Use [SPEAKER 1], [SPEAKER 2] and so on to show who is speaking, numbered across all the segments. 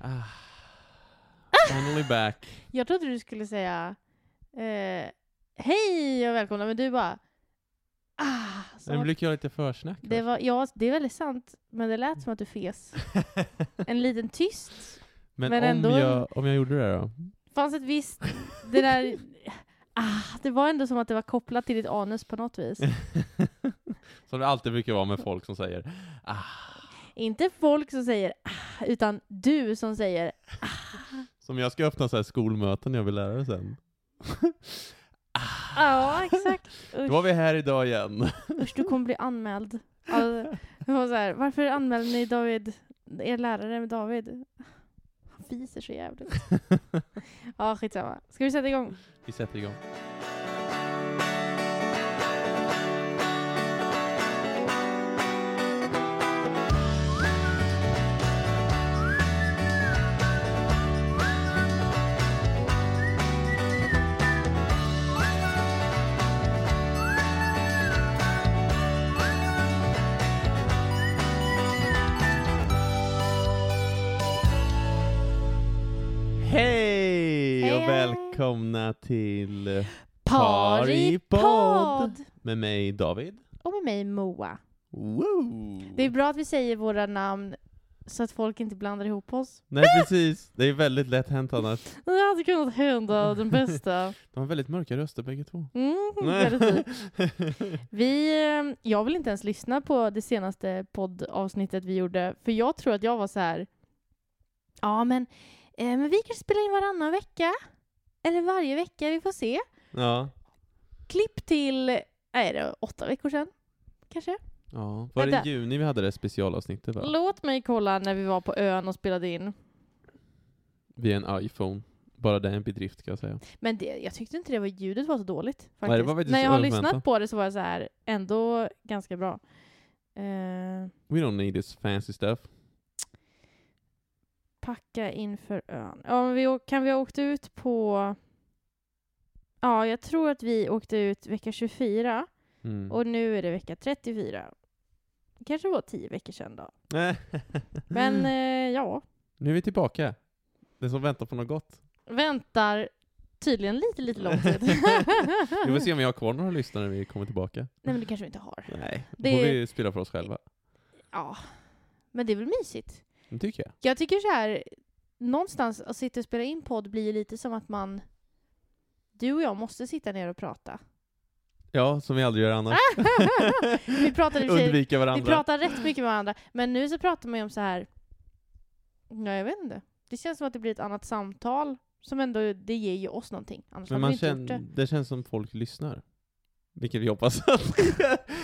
[SPEAKER 1] Ah, finally back.
[SPEAKER 2] Jag trodde du skulle säga eh, hej och välkomna, men du bara ah. som
[SPEAKER 1] Nu
[SPEAKER 2] att-
[SPEAKER 1] brukar jag ha lite försnack.
[SPEAKER 2] det, var, ja, det är väldigt sant, men det lät som att du fes. En liten tyst.
[SPEAKER 1] men
[SPEAKER 2] men
[SPEAKER 1] om,
[SPEAKER 2] ändå-
[SPEAKER 1] jag, om jag gjorde det då?
[SPEAKER 2] fanns ett visst, det där, ah, det var ändå som att det var kopplat till ditt anus på något vis.
[SPEAKER 1] Som det alltid brukar vara med folk som säger ah,
[SPEAKER 2] Inte folk som säger ah, utan du som säger
[SPEAKER 1] Som jag ska öppna så här skolmöten när jag blir lärare sen.
[SPEAKER 2] ja, exakt.
[SPEAKER 1] Då var vi här idag igen.
[SPEAKER 2] Usch, du kommer bli anmäld. Alltså, det var så här, varför anmälde ni David, er lärare med David? Han fiser så jävligt. Ja, skitsamma. Ska vi sätta igång?
[SPEAKER 1] vi sätter igång. Hej och
[SPEAKER 2] Hej.
[SPEAKER 1] välkomna till
[SPEAKER 2] Par i podd!
[SPEAKER 1] med mig David.
[SPEAKER 2] Och med mig Moa.
[SPEAKER 1] Woo!
[SPEAKER 2] Det är bra att vi säger våra namn så att folk inte blandar ihop oss.
[SPEAKER 1] Nej precis, det är väldigt lätt hänt annars.
[SPEAKER 2] Det hade kunnat hända den bästa.
[SPEAKER 1] De har väldigt mörka röster bägge två.
[SPEAKER 2] Mm, väldigt fint. vi, eh, jag vill inte ens lyssna på det senaste poddavsnittet vi gjorde, för jag tror att jag var så här. Ja, men, eh, men vi kan spela in varannan vecka. Eller varje vecka, vi får se.
[SPEAKER 1] ja.
[SPEAKER 2] Klipp till, är det åtta veckor sedan? Kanske?
[SPEAKER 1] ja. Var det
[SPEAKER 2] Vänta.
[SPEAKER 1] i juni vi hade det specialavsnittet va?
[SPEAKER 2] Låt mig kolla när vi var på ön och spelade in.
[SPEAKER 1] Via en iPhone. Bara det är en bedrift kan jag säga.
[SPEAKER 2] Men det, jag tyckte inte det var, ljudet var så dåligt. Faktiskt.
[SPEAKER 1] det var faktiskt
[SPEAKER 2] När jag har
[SPEAKER 1] överväntat.
[SPEAKER 2] lyssnat på det så var jag så här, ändå ganska bra. Eh,
[SPEAKER 1] We don't need this fancy stuff.
[SPEAKER 2] packa inför ön. Ja, men vi, å- kan vi ha åkt ut på... Ja, jag tror att vi åkte ut vecka 24
[SPEAKER 1] Mm.
[SPEAKER 2] och nu är det vecka 34. Det kanske var tio veckor sedan då. Men
[SPEAKER 1] Men...
[SPEAKER 2] eh, ja,
[SPEAKER 1] Nu är vi tillbaka. Den som väntar på något gott.
[SPEAKER 2] väntar tydligen lite, lite lång tid.
[SPEAKER 1] Vi får se om vi har kvar några lyssnare när vi kommer tillbaka.
[SPEAKER 2] Nej, men det kanske vi inte har.
[SPEAKER 1] Nej, då
[SPEAKER 2] Det-
[SPEAKER 1] får vi spela för oss själva.
[SPEAKER 2] Ja, men det är väl mysigt.
[SPEAKER 1] Det tycker jag.
[SPEAKER 2] Jag tycker så här, någonstans att sitta och spela in podd blir ju lite som att man... Du och jag måste sitta ner och prata.
[SPEAKER 1] Ja, som vi aldrig gör annars.
[SPEAKER 2] Ah! vi pratar i och för sig-
[SPEAKER 1] Undvika
[SPEAKER 2] Vi
[SPEAKER 1] varandra.
[SPEAKER 2] pratar rätt mycket med varandra, men nu så pratar man ju om så här... Ja, jag vet inte. Det känns som att det blir ett annat samtal, som ändå, det ger ju oss någonting. Annars
[SPEAKER 1] Men
[SPEAKER 2] hade vi
[SPEAKER 1] man
[SPEAKER 2] inte gjort
[SPEAKER 1] känner,
[SPEAKER 2] det.
[SPEAKER 1] det känns som folk lyssnar. Vilket vi hoppas att.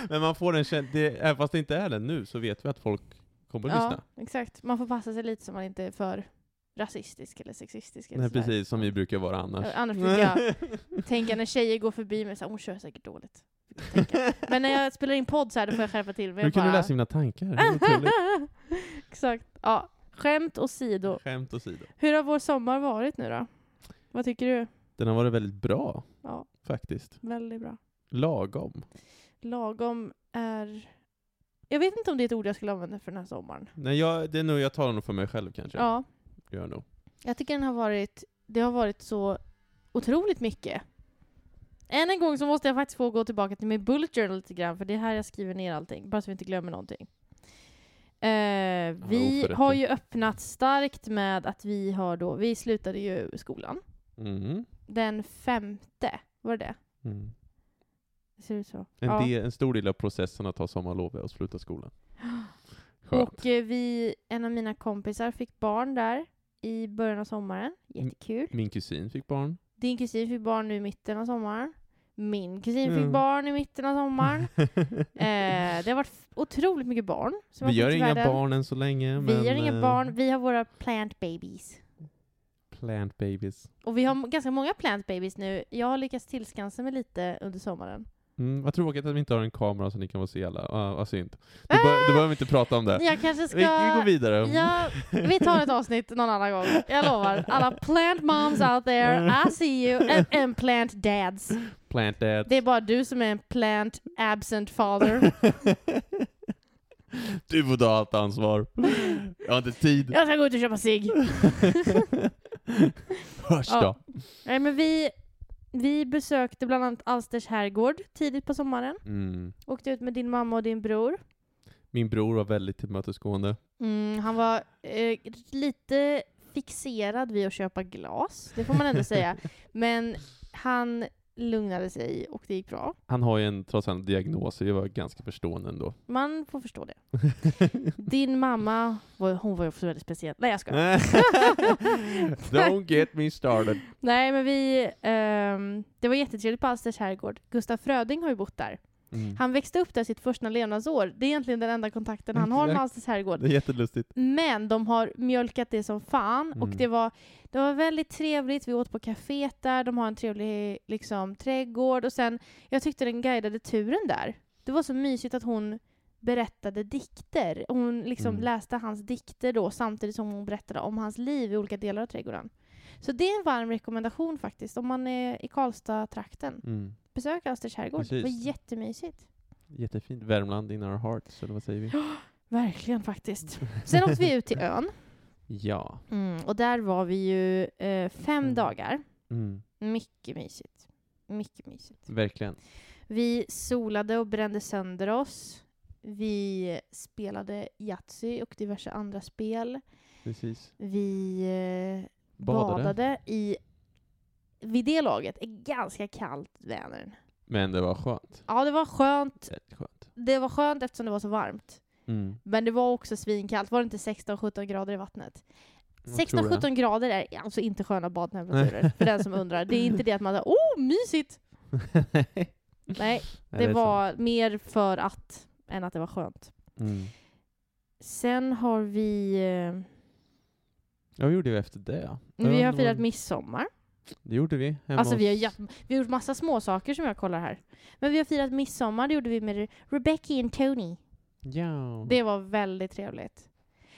[SPEAKER 1] Men man får den känslan, även fast det inte är den nu, så vet vi att folk kommer att
[SPEAKER 2] Ja,
[SPEAKER 1] lyssna.
[SPEAKER 2] exakt. Man får passa sig lite så man inte är för rasistisk eller sexistisk. Eller
[SPEAKER 1] Nej,
[SPEAKER 2] sådär.
[SPEAKER 1] precis som vi brukar vara annars.
[SPEAKER 2] Ja, Annars brukar jag tänka när tjejer går förbi mig så här, hon kör säkert dåligt. Tänker jag. Men när jag spelar in podd så här, då får jag skärpa till mig.
[SPEAKER 1] nu kan
[SPEAKER 2] bara...
[SPEAKER 1] du läsa mina tankar. Det är otroligt.
[SPEAKER 2] Exakt. Ja. Skämt åsido.
[SPEAKER 1] Skämt åsido.
[SPEAKER 2] Hur har vår sommar varit nu då? Vad tycker du?
[SPEAKER 1] Den har varit väldigt bra,
[SPEAKER 2] Ja,
[SPEAKER 1] faktiskt.
[SPEAKER 2] väldigt bra.
[SPEAKER 1] Lagom.
[SPEAKER 2] Lagom är... Jag vet inte om det är ett ord jag skulle använda för den här sommaren.
[SPEAKER 1] Nej, jag, det är nog, jag talar nog för mig själv kanske.
[SPEAKER 2] Ja,
[SPEAKER 1] Gör jag nog.
[SPEAKER 2] jag tycker den har varit... Det har varit så otroligt mycket. Än en gång så måste jag faktiskt få gå tillbaka till min bullet journal lite grann, för det är här jag skriver ner allting, bara så vi inte glömmer någonting. Eh, vi
[SPEAKER 1] oförrätter.
[SPEAKER 2] har ju öppnat starkt med att vi har då... Vi slutade ju skolan.
[SPEAKER 1] Mm.
[SPEAKER 2] Den femte, var det det?
[SPEAKER 1] Mm.
[SPEAKER 2] det? Ser ut så?
[SPEAKER 1] En,
[SPEAKER 2] Ja.
[SPEAKER 1] del, en stor del av processen att ta sommarlov är att sluta skolan. Skönt.
[SPEAKER 2] Och eh, vi, en av mina kompisar fick barn där i början av sommaren.
[SPEAKER 1] Mm.
[SPEAKER 2] Jättekul.
[SPEAKER 1] Min kusin fick barn.
[SPEAKER 2] Din kusin fick barn nu i mitten av sommaren. Min kusin fick
[SPEAKER 1] Mm.
[SPEAKER 2] barn i mitten av sommaren. eh, det har varit f- otroligt mycket barn. Som
[SPEAKER 1] vi
[SPEAKER 2] har
[SPEAKER 1] gör
[SPEAKER 2] kommit till
[SPEAKER 1] inga
[SPEAKER 2] världen.
[SPEAKER 1] barn än så länge. men,
[SPEAKER 2] Vi gör inga
[SPEAKER 1] eh,
[SPEAKER 2] barn. Vi har våra plant babies.
[SPEAKER 1] Plant babies.
[SPEAKER 2] Och vi har m- ganska många plant babies nu. Jag har lyckats tillskansa mig lite under sommaren.
[SPEAKER 1] Mm, vad tråkigt att vi inte har en kamera så ni kan få se alla. Ah, vad synd. Då, bör, då behöver vi inte prata om det.
[SPEAKER 2] Ah! Jag kanske ska...
[SPEAKER 1] Vi, vi går vidare.
[SPEAKER 2] Ja, vi tar ett avsnitt någon annan gång. Jag lovar. Alla plant moms out there, I see you. And, and plant dads.
[SPEAKER 1] Plant dad.
[SPEAKER 2] Det är bara du som är en plant absent father.
[SPEAKER 1] Du får ta allt ansvar. Jag har inte tid.
[SPEAKER 2] Jag ska gå ut och köpa cigg.
[SPEAKER 1] Hörs
[SPEAKER 2] Ja.
[SPEAKER 1] då.
[SPEAKER 2] Nej, men vi, vi besökte bland annat Alsters herrgård tidigt på sommaren.
[SPEAKER 1] Mm.
[SPEAKER 2] Åkte ut med din mamma och din bror.
[SPEAKER 1] Min bror var väldigt tillmötesgående.
[SPEAKER 2] Mm, han var eh, lite fixerad vid att köpa glas, det får man ändå säga. Men han lugnade sig och det gick bra.
[SPEAKER 1] Han har ju en, trots allt, diagnos, så jag var ganska förstående ändå.
[SPEAKER 2] Man får förstå det. Din mamma, var, hon var ju också väldigt speciell. Nej, jag skojar.
[SPEAKER 1] Don't get me started.
[SPEAKER 2] Nej, men vi... ehm, det var jättetrevligt på Alsters herrgård. Gustaf Fröding har ju bott där.
[SPEAKER 1] Mm.
[SPEAKER 2] Han växte upp där sitt första levnadsår. Det är egentligen den enda kontakten han har med
[SPEAKER 1] Exakt.
[SPEAKER 2] Alsters herrgård.
[SPEAKER 1] Det är jättelustigt.
[SPEAKER 2] Men de har mjölkat det som fan och
[SPEAKER 1] Mm.
[SPEAKER 2] det var, det var väldigt trevligt. Vi åt på kaféet där, de har en trevlig liksom, trädgård och sen, jag tyckte den guidade turen där. Det var så mysigt att hon berättade dikter. Hon liksom
[SPEAKER 1] Mm.
[SPEAKER 2] läste hans dikter då samtidigt som hon berättade om hans liv i olika delar av trädgården. Så det är en varm rekommendation faktiskt om man är i Karlstad-trakten.
[SPEAKER 1] Mm.
[SPEAKER 2] Besök Östers herrgård, det var
[SPEAKER 1] Precis.
[SPEAKER 2] jättemysigt.
[SPEAKER 1] Jättefint. Värmland in our hearts, eller vad säger vi?
[SPEAKER 2] Verkligen faktiskt. Sen åkte vi ut till ön.
[SPEAKER 1] Ja.
[SPEAKER 2] Mm, och där var vi ju eh, fem
[SPEAKER 1] Mm.
[SPEAKER 2] dagar.
[SPEAKER 1] Mm.
[SPEAKER 2] Mycket mysigt. Mycket mysigt.
[SPEAKER 1] Verkligen.
[SPEAKER 2] Vi solade och brände sönder oss. Vi spelade Yatzy och diverse andra spel.
[SPEAKER 1] Precis.
[SPEAKER 2] Vi eh, badade.
[SPEAKER 1] Badade.
[SPEAKER 2] i, vid det laget, ett ganska kallt Vänern.
[SPEAKER 1] Men det var skönt.
[SPEAKER 2] Ja, det var skönt.
[SPEAKER 1] Väldigt skönt.
[SPEAKER 2] Det var skönt eftersom det var så varmt.
[SPEAKER 1] Mm.
[SPEAKER 2] Men det var också svinkallt. Var det inte 16-17 grader i vattnet?
[SPEAKER 1] Jag tror det.
[SPEAKER 2] 16-17 grader är alltså inte sköna badtemperaturer, för den som undrar. Det är inte det att man säger åh, mysigt!
[SPEAKER 1] Nej,
[SPEAKER 2] Nej, det,
[SPEAKER 1] är
[SPEAKER 2] var mer för att, än att det var skönt.
[SPEAKER 1] sant. Mm.
[SPEAKER 2] Sen har vi, eh,
[SPEAKER 1] Ja, vad gjorde vi efter det? Det
[SPEAKER 2] vi
[SPEAKER 1] var-
[SPEAKER 2] har
[SPEAKER 1] det
[SPEAKER 2] firat
[SPEAKER 1] var-
[SPEAKER 2] midsommar.
[SPEAKER 1] Det gjorde vi. Hemma
[SPEAKER 2] Alltså vi har,
[SPEAKER 1] hos-
[SPEAKER 2] jätt- vi har gjort massa små saker som jag kollar här. Men vi har firat midsommar, det gjorde vi med Rebecca och Tony.
[SPEAKER 1] Ja.
[SPEAKER 2] Det var väldigt trevligt.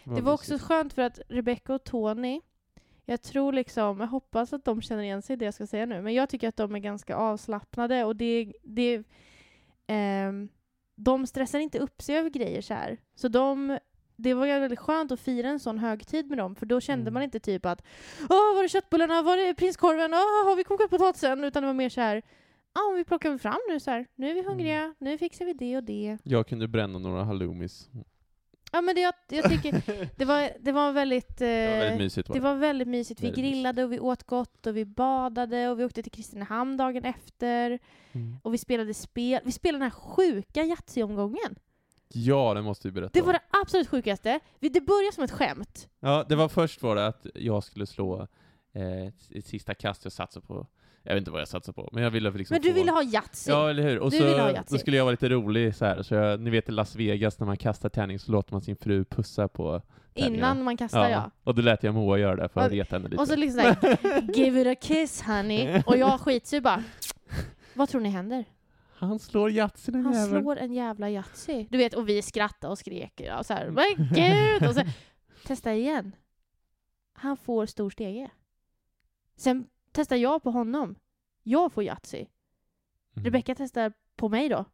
[SPEAKER 2] Det var också skönt för att Rebecca och Tony, jag tror liksom, jag hoppas att de känner igen sig i det jag ska säga nu, men jag tycker att de är ganska avslappnade och det, det ehm, de stressar inte upp sig över grejer så här. Så de, det var ju väldigt skönt att fira en sån högtid med dem, för då kände
[SPEAKER 1] Mm.
[SPEAKER 2] man inte typ att Åh, var det köttbullarna? Var det prinskorven? Åh, har vi kokat potatisen? Utan det var mer så här Ja, ah, vi plockar väl fram nu så här. Nu är vi hungriga,
[SPEAKER 1] Mm.
[SPEAKER 2] nu fixar vi det och det.
[SPEAKER 1] Jag kunde bränna några halloumis.
[SPEAKER 2] Ja, men det, jag, jag tycker, det var, det var väldigt... Eh,
[SPEAKER 1] Det var väldigt mysigt. Var
[SPEAKER 2] det
[SPEAKER 1] det.
[SPEAKER 2] var väldigt mysigt. Vi
[SPEAKER 1] Väldigt
[SPEAKER 2] grillade och vi åt gott och vi badade och vi åkte till Kristinehamn dagen efter.
[SPEAKER 1] Mm.
[SPEAKER 2] Och vi spelade spel. Vi spelade den här sjuka Yatzy-omgången.
[SPEAKER 1] Ja, det måste vi berätta
[SPEAKER 2] Det var
[SPEAKER 1] om.
[SPEAKER 2] det absolut sjukaste. Vi, det började som ett skämt.
[SPEAKER 1] Ja, det var först var det att jag skulle slå eh, ett- ett sista kast jag satsade på. Jag vet inte vad jag satsade på, men jag ville liksom
[SPEAKER 2] Men du
[SPEAKER 1] få...
[SPEAKER 2] ville ha Yatzy.
[SPEAKER 1] Ja, eller hur? Och
[SPEAKER 2] Du
[SPEAKER 1] så
[SPEAKER 2] ville ha Yatzy.
[SPEAKER 1] då skulle jag vara lite rolig så här. Så jag, ni vet i Las Vegas när man kastar tärning så låter man sin fru pussa på
[SPEAKER 2] innan man kastar ja.
[SPEAKER 1] Och då lät jag Moa göra det för att
[SPEAKER 2] Och-
[SPEAKER 1] reta henne lite.
[SPEAKER 2] Och så liksom såhär, give it a kiss honey. Och jag skitsur bara, vad tror ni händer?
[SPEAKER 1] Han slår Yatzy den
[SPEAKER 2] Han
[SPEAKER 1] jäveln.
[SPEAKER 2] slår en jävla Mm. Yatzy. Du vet, och vi skrattade och skrek. Ja, så här, men gud! Och så, testa igen. Han får stor stege. Sen testar jag på honom. Jag får Yatzy.
[SPEAKER 1] Mm.
[SPEAKER 2] Rebecka testar på mig då.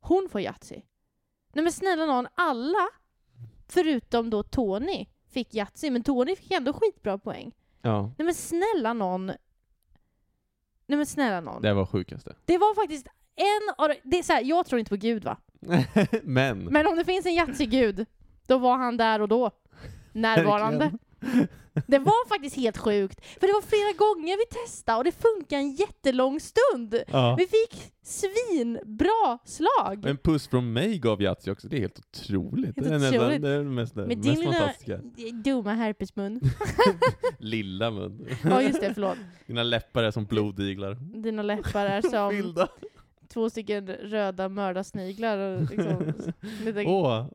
[SPEAKER 2] Hon får Yatzy. Nej men snälla någon, alla förutom då Tony fick Yatzy, men Tony fick ändå skitbra poäng.
[SPEAKER 1] Ja,
[SPEAKER 2] Nej men snälla någon. Nej men snälla någon.
[SPEAKER 1] det var sjukaste.
[SPEAKER 2] Det var faktiskt en av de- det är så här, jag tror inte på Gud va?
[SPEAKER 1] men.
[SPEAKER 2] Men om det finns en Yatzy-gud, då var han där och då. Närvarande.
[SPEAKER 1] Verkligen.
[SPEAKER 2] Det var faktiskt helt sjukt. För det var flera gånger vi testade och det funkade en jättelång stund.
[SPEAKER 1] Ja.
[SPEAKER 2] Vi fick svinbra slag.
[SPEAKER 1] En puss från mig gav Yatzy också, det är helt otroligt.
[SPEAKER 2] Helt
[SPEAKER 1] det är nästan
[SPEAKER 2] otroligt.
[SPEAKER 1] det är det mest, det
[SPEAKER 2] Med
[SPEAKER 1] mest
[SPEAKER 2] din lilla-
[SPEAKER 1] fantastiska.
[SPEAKER 2] Dumma herpesmun.
[SPEAKER 1] Lilla mun.
[SPEAKER 2] Ja just det, förlåt.
[SPEAKER 1] Dina läppar är som blodiglar.
[SPEAKER 2] Dina läppar är som
[SPEAKER 1] Fyllda.
[SPEAKER 2] två stycken röda mördarsniglar. Och liksom, lite
[SPEAKER 1] Åh,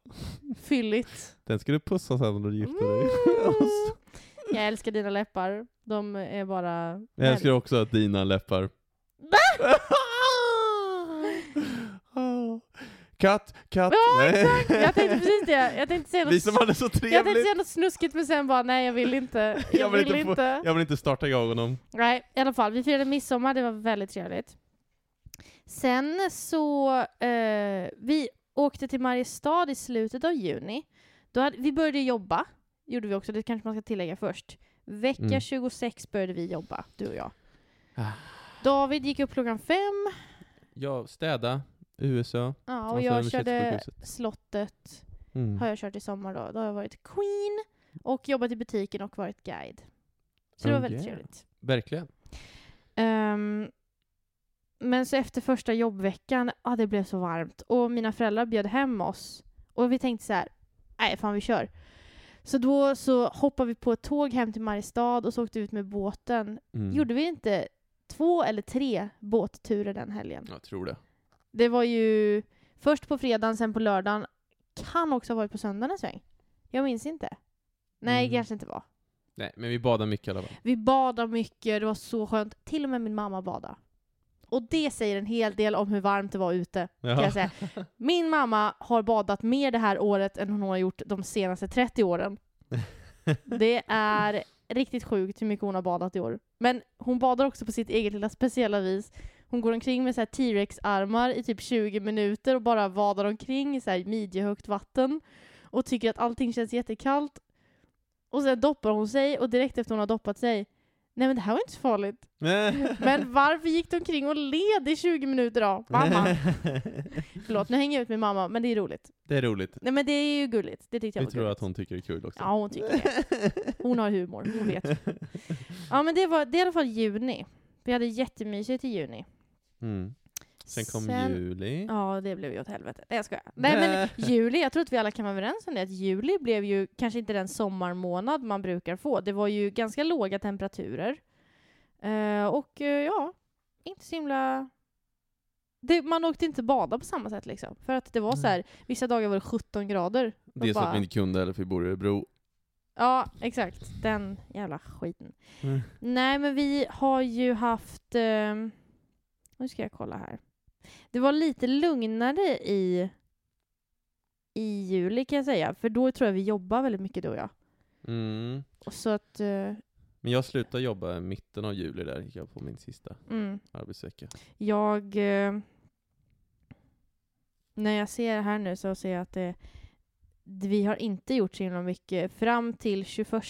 [SPEAKER 2] fylligt.
[SPEAKER 1] den ska du pussa sen när du gifter dig.
[SPEAKER 2] Mm. Jag älskar dina läppar. De är bara...
[SPEAKER 1] Jag älskar också att dina läppar. Ah. Katt, katt.
[SPEAKER 2] Ja,
[SPEAKER 1] Nej.
[SPEAKER 2] exakt! Jag tänkte precis det. Jag tänkte säga
[SPEAKER 1] Vi
[SPEAKER 2] något,
[SPEAKER 1] som hade så
[SPEAKER 2] jag tänkte
[SPEAKER 1] trevligt.
[SPEAKER 2] säga något snuskigt men sen bara nej, jag vill inte. Jag,
[SPEAKER 1] Jag vill
[SPEAKER 2] vill,
[SPEAKER 1] inte få-
[SPEAKER 2] inte.
[SPEAKER 1] Jag vill inte starta jag och honom.
[SPEAKER 2] Nej, i alla fall. Vi firade midsommar, det var väldigt trevligt. Sen så... Eh, vi åkte till Mariestad i slutet av juni. Då hade, vi började jobba, gjorde vi också, det kanske man ska tillägga först. Vecka
[SPEAKER 1] Mm.
[SPEAKER 2] 26 började vi jobba, du och jag.
[SPEAKER 1] Ah.
[SPEAKER 2] David gick upp klockan fem,
[SPEAKER 1] Jag städa, USA.
[SPEAKER 2] ja, och
[SPEAKER 1] Alltså,
[SPEAKER 2] jag körde
[SPEAKER 1] universitetssjukhuset.
[SPEAKER 2] Slottet,
[SPEAKER 1] Mm.
[SPEAKER 2] har jag kört i sommar då. Då har jag varit queen, och jobbat i butiken och varit guide. Så det
[SPEAKER 1] Oh
[SPEAKER 2] var väldigt
[SPEAKER 1] yeah.
[SPEAKER 2] trevligt.
[SPEAKER 1] Verkligen.
[SPEAKER 2] Ehm, men så efter första jobbveckan, ja det blev så varmt. Och mina föräldrar bjöd hem oss. Och vi tänkte så här, nej fan vi kör. Så då så hoppade vi på ett tåg hem till Mariestad och så åkte vi ut med båten.
[SPEAKER 1] Mm.
[SPEAKER 2] Gjorde vi inte två eller tre båtturer den helgen?
[SPEAKER 1] Jag tror det.
[SPEAKER 2] Det var ju först på fredagen, sen på lördagen. Kan också ha varit på söndagen en sväng. Jag minns inte. Nej,
[SPEAKER 1] Mm.
[SPEAKER 2] kanske inte var.
[SPEAKER 1] Nej, men vi badar mycket i alla fall.
[SPEAKER 2] Vi badade mycket, det var så skönt. Till och med min mamma badade. Och det säger en hel del om hur varmt det var ute, kan jag säga. Min mamma har badat mer det här året än hon har gjort de senaste 30 åren. Det är riktigt sjukt hur mycket hon har badat i år. Men hon badar också på sitt eget lilla speciella vis. Hon går omkring med så här T-rex-armar i typ 20 minuter och bara vadar omkring i så här midjehögt vatten och tycker att allting känns jättekallt. Och sen doppar hon sig och direkt efter hon har doppat sig, nej men det här var inte så farligt. Men varför gick du omkring och led i 20 minuter då? Mamma. Förlåt, nu hänger jag ut med mamma, men det är roligt.
[SPEAKER 1] det är roligt.
[SPEAKER 2] Nej men det är ju gulligt. Det tyckte jag
[SPEAKER 1] Vi
[SPEAKER 2] var
[SPEAKER 1] tror
[SPEAKER 2] gulligt.
[SPEAKER 1] att hon tycker det är kul också.
[SPEAKER 2] Ja, hon tycker det. Hon har humor, hon vet. Ja men det var det är i alla fall juni. Vi hade jättemysigt i juni.
[SPEAKER 1] Mm. Sen kom juli.
[SPEAKER 2] Ja, det blev ju åt helvete. Nej, jag skojar. Nej, men juli, jag tror att vi alla kan vara överens om det, att juli blev ju kanske inte den sommarmånad man brukar få. Det var ju ganska låga temperaturer. Eh, och eh, ja, inte så himla... Det, man åkte inte bada på samma sätt liksom. För att det var
[SPEAKER 1] Mm.
[SPEAKER 2] så här, vissa dagar var det 17 grader.
[SPEAKER 1] Det är så
[SPEAKER 2] bara-
[SPEAKER 1] att vi inte kunde eller för vi bor i Örebro.
[SPEAKER 2] Ja, exakt. Den jävla skiten. Nej, men vi har ju haft... Eh, nu ska jag kolla här. Det var lite lugnare i, i juli kan jag säga, för då tror jag vi jobbar väldigt mycket du och jag.
[SPEAKER 1] Mm.
[SPEAKER 2] Och Så att... Eh,
[SPEAKER 1] Men jag slutade jobba i mitten av juli där, gick jag på min sista
[SPEAKER 2] mm,
[SPEAKER 1] arbetsvecka.
[SPEAKER 2] jag... Eh, när jag ser här nu så ser jag att det, vi har inte gjort så himla mycket fram till 21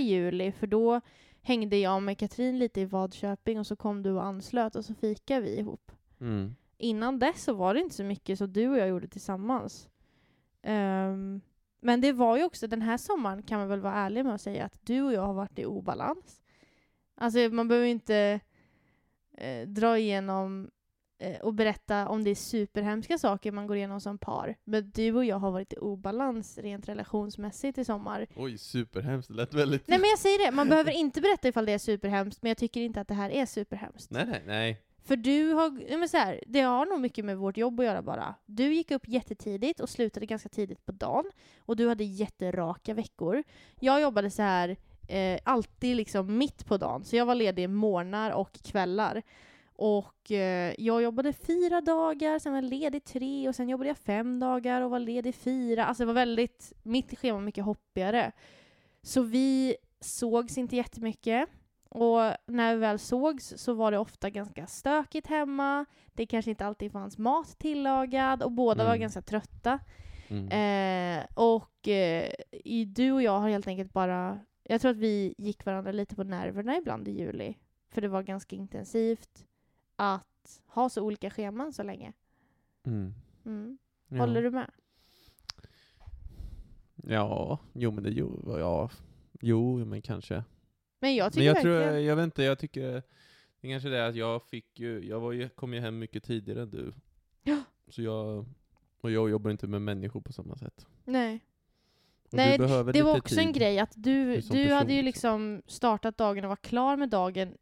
[SPEAKER 2] juli, för då hängde jag med Katrin lite i Vadköping och så kom du och anslöt och så fikade vi ihop.
[SPEAKER 1] Mm.
[SPEAKER 2] innan dess så var det inte så mycket som du och jag gjorde tillsammans. Ehm, men det var ju också, den här sommaren kan man väl vara ärlig med att säga att du och jag har varit i obalans. Alltså man behöver ju inte eh, dra igenom eh, och berätta om det är superhemska saker man går igenom som par. Men du och jag har varit i obalans rent relationsmässigt i sommar.
[SPEAKER 1] Oj, superhemskt. Det lät väldigt...
[SPEAKER 2] Nej men jag säger det, man behöver inte berätta ifall det är superhemskt, men jag tycker inte att det här är superhemskt.
[SPEAKER 1] Nej, nej, nej.
[SPEAKER 2] För du har, ja, men så här, det har nog mycket med vårt jobb att göra bara. Du gick upp jättetidigt och slutade ganska tidigt på dagen. Och du hade jätteraka veckor. Jag jobbade så här eh, alltid liksom mitt på dagen. Så jag var ledig morgnar och kvällar. Och eh, jag jobbade fyra dagar, sen var jag ledig tre och sen jobbade jag fem dagar och var ledig fyra. Alltså det var väldigt, mitt schema var mycket hoppigare. Så vi sågs inte jättemycket. Och när vi väl sågs så var det ofta ganska stökigt hemma. Det kanske inte alltid fanns mat tillagad och båda var
[SPEAKER 1] Mm.
[SPEAKER 2] ganska trötta.
[SPEAKER 1] Mm.
[SPEAKER 2] Eh, och eh, i- du och jag har helt enkelt bara... Jag tror att vi gick varandra lite på nerverna ibland i juli. För det var ganska intensivt att ha så olika scheman så länge.
[SPEAKER 1] Mm.
[SPEAKER 2] Mm.
[SPEAKER 1] Ja.
[SPEAKER 2] Håller du med?
[SPEAKER 1] Ja, jo men det jo, ja. Jo, men kanske.
[SPEAKER 2] Men jag tycker
[SPEAKER 1] Men jag tror,
[SPEAKER 2] verkligen...
[SPEAKER 1] jag vet inte, jag tycker det är kanske det att jag fick ju, jag var ju, kom ju hem mycket tidigare än du.
[SPEAKER 2] Ja.
[SPEAKER 1] Så jag, och jag jobbar inte med människor på samma sätt.
[SPEAKER 2] Nej.
[SPEAKER 1] Och
[SPEAKER 2] Nej,
[SPEAKER 1] du behöver
[SPEAKER 2] Det var
[SPEAKER 1] lite
[SPEAKER 2] också
[SPEAKER 1] tid.
[SPEAKER 2] en grej att du,
[SPEAKER 1] Du som
[SPEAKER 2] du
[SPEAKER 1] person,
[SPEAKER 2] hade ju
[SPEAKER 1] liksom.
[SPEAKER 2] liksom startat dagen och var klar med dagen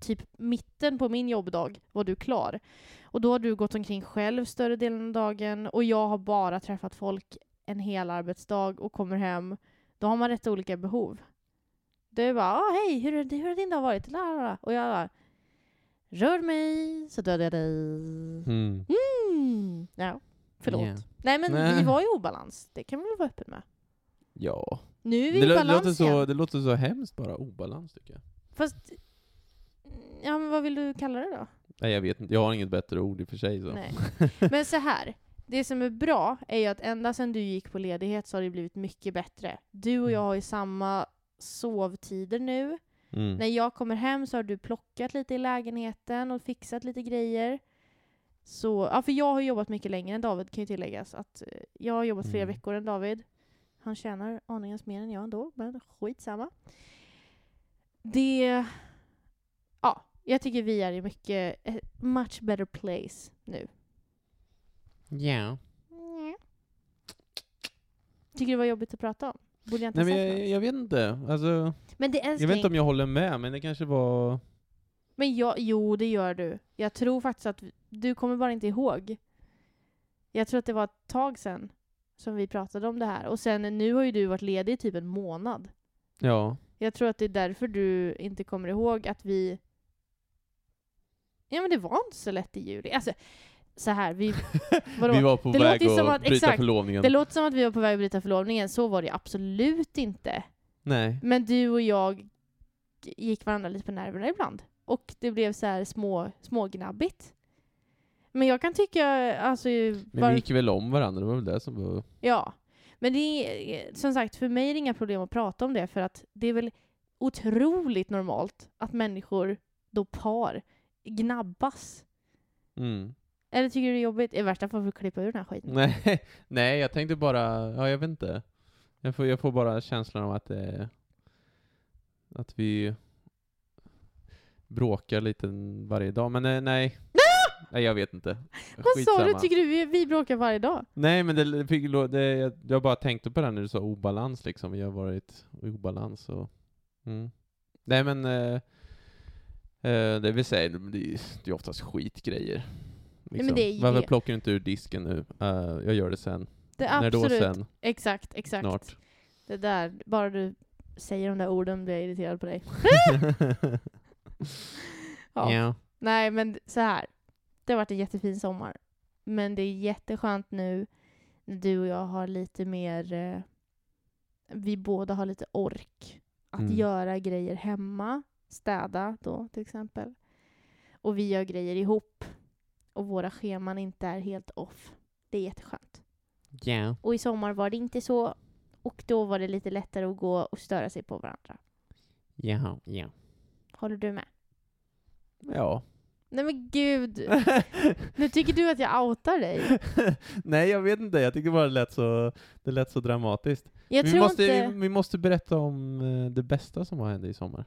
[SPEAKER 2] typ mitten på min jobbdag var du klar. Och då har du gått omkring själv större delen av dagen och jag har bara träffat folk en hel arbetsdag och kommer hem. Då har man rätt olika behov. Det är bara ah, hej, hur, hur har din dag varit? La, la, la. Och jag bara rör mig så dödar jag dig.
[SPEAKER 1] Mm.
[SPEAKER 2] Mm. Ja, förlåt.
[SPEAKER 1] Yeah.
[SPEAKER 2] Nej men
[SPEAKER 1] Nej.
[SPEAKER 2] vi var i obalans, det kan vi väl vara öppen med.
[SPEAKER 1] Ja.
[SPEAKER 2] Nu är vi
[SPEAKER 1] Det,
[SPEAKER 2] i
[SPEAKER 1] lå-
[SPEAKER 2] balans
[SPEAKER 1] låter
[SPEAKER 2] igen.
[SPEAKER 1] så, det låter så hemskt bara, obalans tycker jag.
[SPEAKER 2] Fast, ja men vad vill du kalla det då?
[SPEAKER 1] Nej jag vet inte, jag har inget bättre ord i och för sig så.
[SPEAKER 2] Nej. Men så här, Det som är bra är ju att ända sedan du gick på ledighet så har det blivit mycket bättre. Du och jag har ju samma sovtider nu.
[SPEAKER 1] Mm.
[SPEAKER 2] När jag kommer hem så har du plockat lite i lägenheten och fixat lite grejer. Så, ja, för jag har jobbat mycket längre än David kan ju tilläggas. Att eh, jag har jobbat fler
[SPEAKER 1] Mm.
[SPEAKER 2] veckor än David. Han tjänar aningens mer än jag ändå, men skitsamma. Det... Ja, jag tycker vi är i mycket... eh, Much better place nu.
[SPEAKER 1] Ja. Mm.
[SPEAKER 2] Tycker det var jobbigt att prata om? Borde jag inte
[SPEAKER 1] Nej,
[SPEAKER 2] ha
[SPEAKER 1] men
[SPEAKER 2] sagt något?
[SPEAKER 1] jag, jag vet inte. Alltså,
[SPEAKER 2] Men det är
[SPEAKER 1] jag vet inte om jag håller med, men det kanske var...
[SPEAKER 2] Men jag, jo, det gör du. Jag tror faktiskt att du kommer bara inte ihåg. Jag tror att det var ett tag sedan som vi pratade om det här. Och sen nu har ju du varit ledig i typ en månad.
[SPEAKER 1] Ja.
[SPEAKER 2] Jag tror att det är därför du inte kommer ihåg att vi... Ja men det var inte så lätt i juli. Alltså, så här, vi... Vadå?
[SPEAKER 1] Vi var på
[SPEAKER 2] Det
[SPEAKER 1] väg
[SPEAKER 2] låter ju
[SPEAKER 1] att,
[SPEAKER 2] som att-
[SPEAKER 1] bryta
[SPEAKER 2] exakt.
[SPEAKER 1] förlovningen.
[SPEAKER 2] Det låter som att vi var på väg att bryta förlovningen. Så var det ju absolut inte.
[SPEAKER 1] Nej.
[SPEAKER 2] Men du och jag gick varandra lite på nerverna ibland. Och det blev så här små, smågnabbigt. Men jag kan tycka, alltså...
[SPEAKER 1] Men
[SPEAKER 2] var-
[SPEAKER 1] vi gick väl om varandra, det var väl det som var...
[SPEAKER 2] Ja. Men det är, som sagt, för mig är det inga problem att prata om det, för att det är väl otroligt normalt att människor, då par, gnabbas.
[SPEAKER 1] Mm.
[SPEAKER 2] Eller tycker du det är jobbigt? I värsta fall får vi klippa ur den här skiten.
[SPEAKER 1] Nej, nej, jag tänkte bara... Ja, jag vet inte. Jag får, jag får bara känslan av att eh, Att vi bråkar lite varje dag, men eh, nej. nej, jag vet inte.
[SPEAKER 2] Vad sa du? Tycker du vi, vi bråkar varje dag?
[SPEAKER 1] Nej, men det, fick lå- det, jag, jag bara tänkte på det här när du sa obalans liksom. Vi har varit i obalans och... Mm. Nej, men... Eh, eh, det vill säga, det, det är ju oftast skitgrejer. liksom.
[SPEAKER 2] men det är ju
[SPEAKER 1] Varför
[SPEAKER 2] det.
[SPEAKER 1] plockar du inte ur disken nu? Eh, jag gör det sen.
[SPEAKER 2] Det är
[SPEAKER 1] när då
[SPEAKER 2] absolut.
[SPEAKER 1] sen?
[SPEAKER 2] Exakt, exakt.
[SPEAKER 1] Snart.
[SPEAKER 2] Det där, bara du säger de där orden blir jag irriterad på dig. Ja.
[SPEAKER 1] ja.
[SPEAKER 2] Nej, men så här. Det har varit en jättefin sommar. Men det är jätteskönt nu när du och jag har lite mer... Eh, vi båda har lite ork att
[SPEAKER 1] Mm.
[SPEAKER 2] göra grejer hemma. Städa då, till exempel. Och vi gör grejer ihop. Och våra scheman inte är helt off. Det är jätteskönt.
[SPEAKER 1] Ja.
[SPEAKER 2] Och i sommar var det inte så. Och då var det lite lättare att gå och störa sig på varandra.
[SPEAKER 1] Ja. Ja.
[SPEAKER 2] Håller du med?
[SPEAKER 1] Ja.
[SPEAKER 2] Nej men gud! Nu tycker du att jag outar dig.
[SPEAKER 1] Nej, jag vet inte. Jag tycker bara det lät så, det lät så dramatiskt.
[SPEAKER 2] Jag
[SPEAKER 1] vi,
[SPEAKER 2] tror
[SPEAKER 1] måste,
[SPEAKER 2] inte...
[SPEAKER 1] vi, vi måste berätta om eh, det bästa som har hänt i sommar.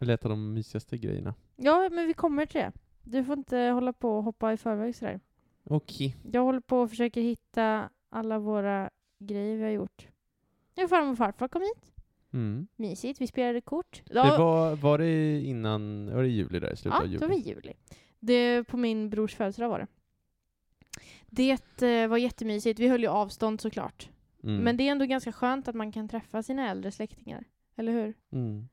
[SPEAKER 1] Eller ett av de mysigaste grejerna.
[SPEAKER 2] Ja, men vi kommer till det. Du får inte hålla på och hoppa i förväg sådär.
[SPEAKER 1] Okej.
[SPEAKER 2] Jag håller på och försöker hitta alla våra grejer vi har gjort. Nu farmor och farfar kom hit.
[SPEAKER 1] Mm.
[SPEAKER 2] Mysigt, vi spelade kort.
[SPEAKER 1] Det
[SPEAKER 2] Ja,
[SPEAKER 1] var, typ var det innan, var det i juli där i slutet
[SPEAKER 2] ja
[SPEAKER 1] av juli?
[SPEAKER 2] det var i juli. Det på min brors födelsedag var det. Det eh, var jättemysigt. Vi höll ju avstånd såklart.
[SPEAKER 1] Mm.
[SPEAKER 2] Men det är ändå ganska skönt att man kan träffa sina äldre släktingar. Eller hur?
[SPEAKER 1] mm.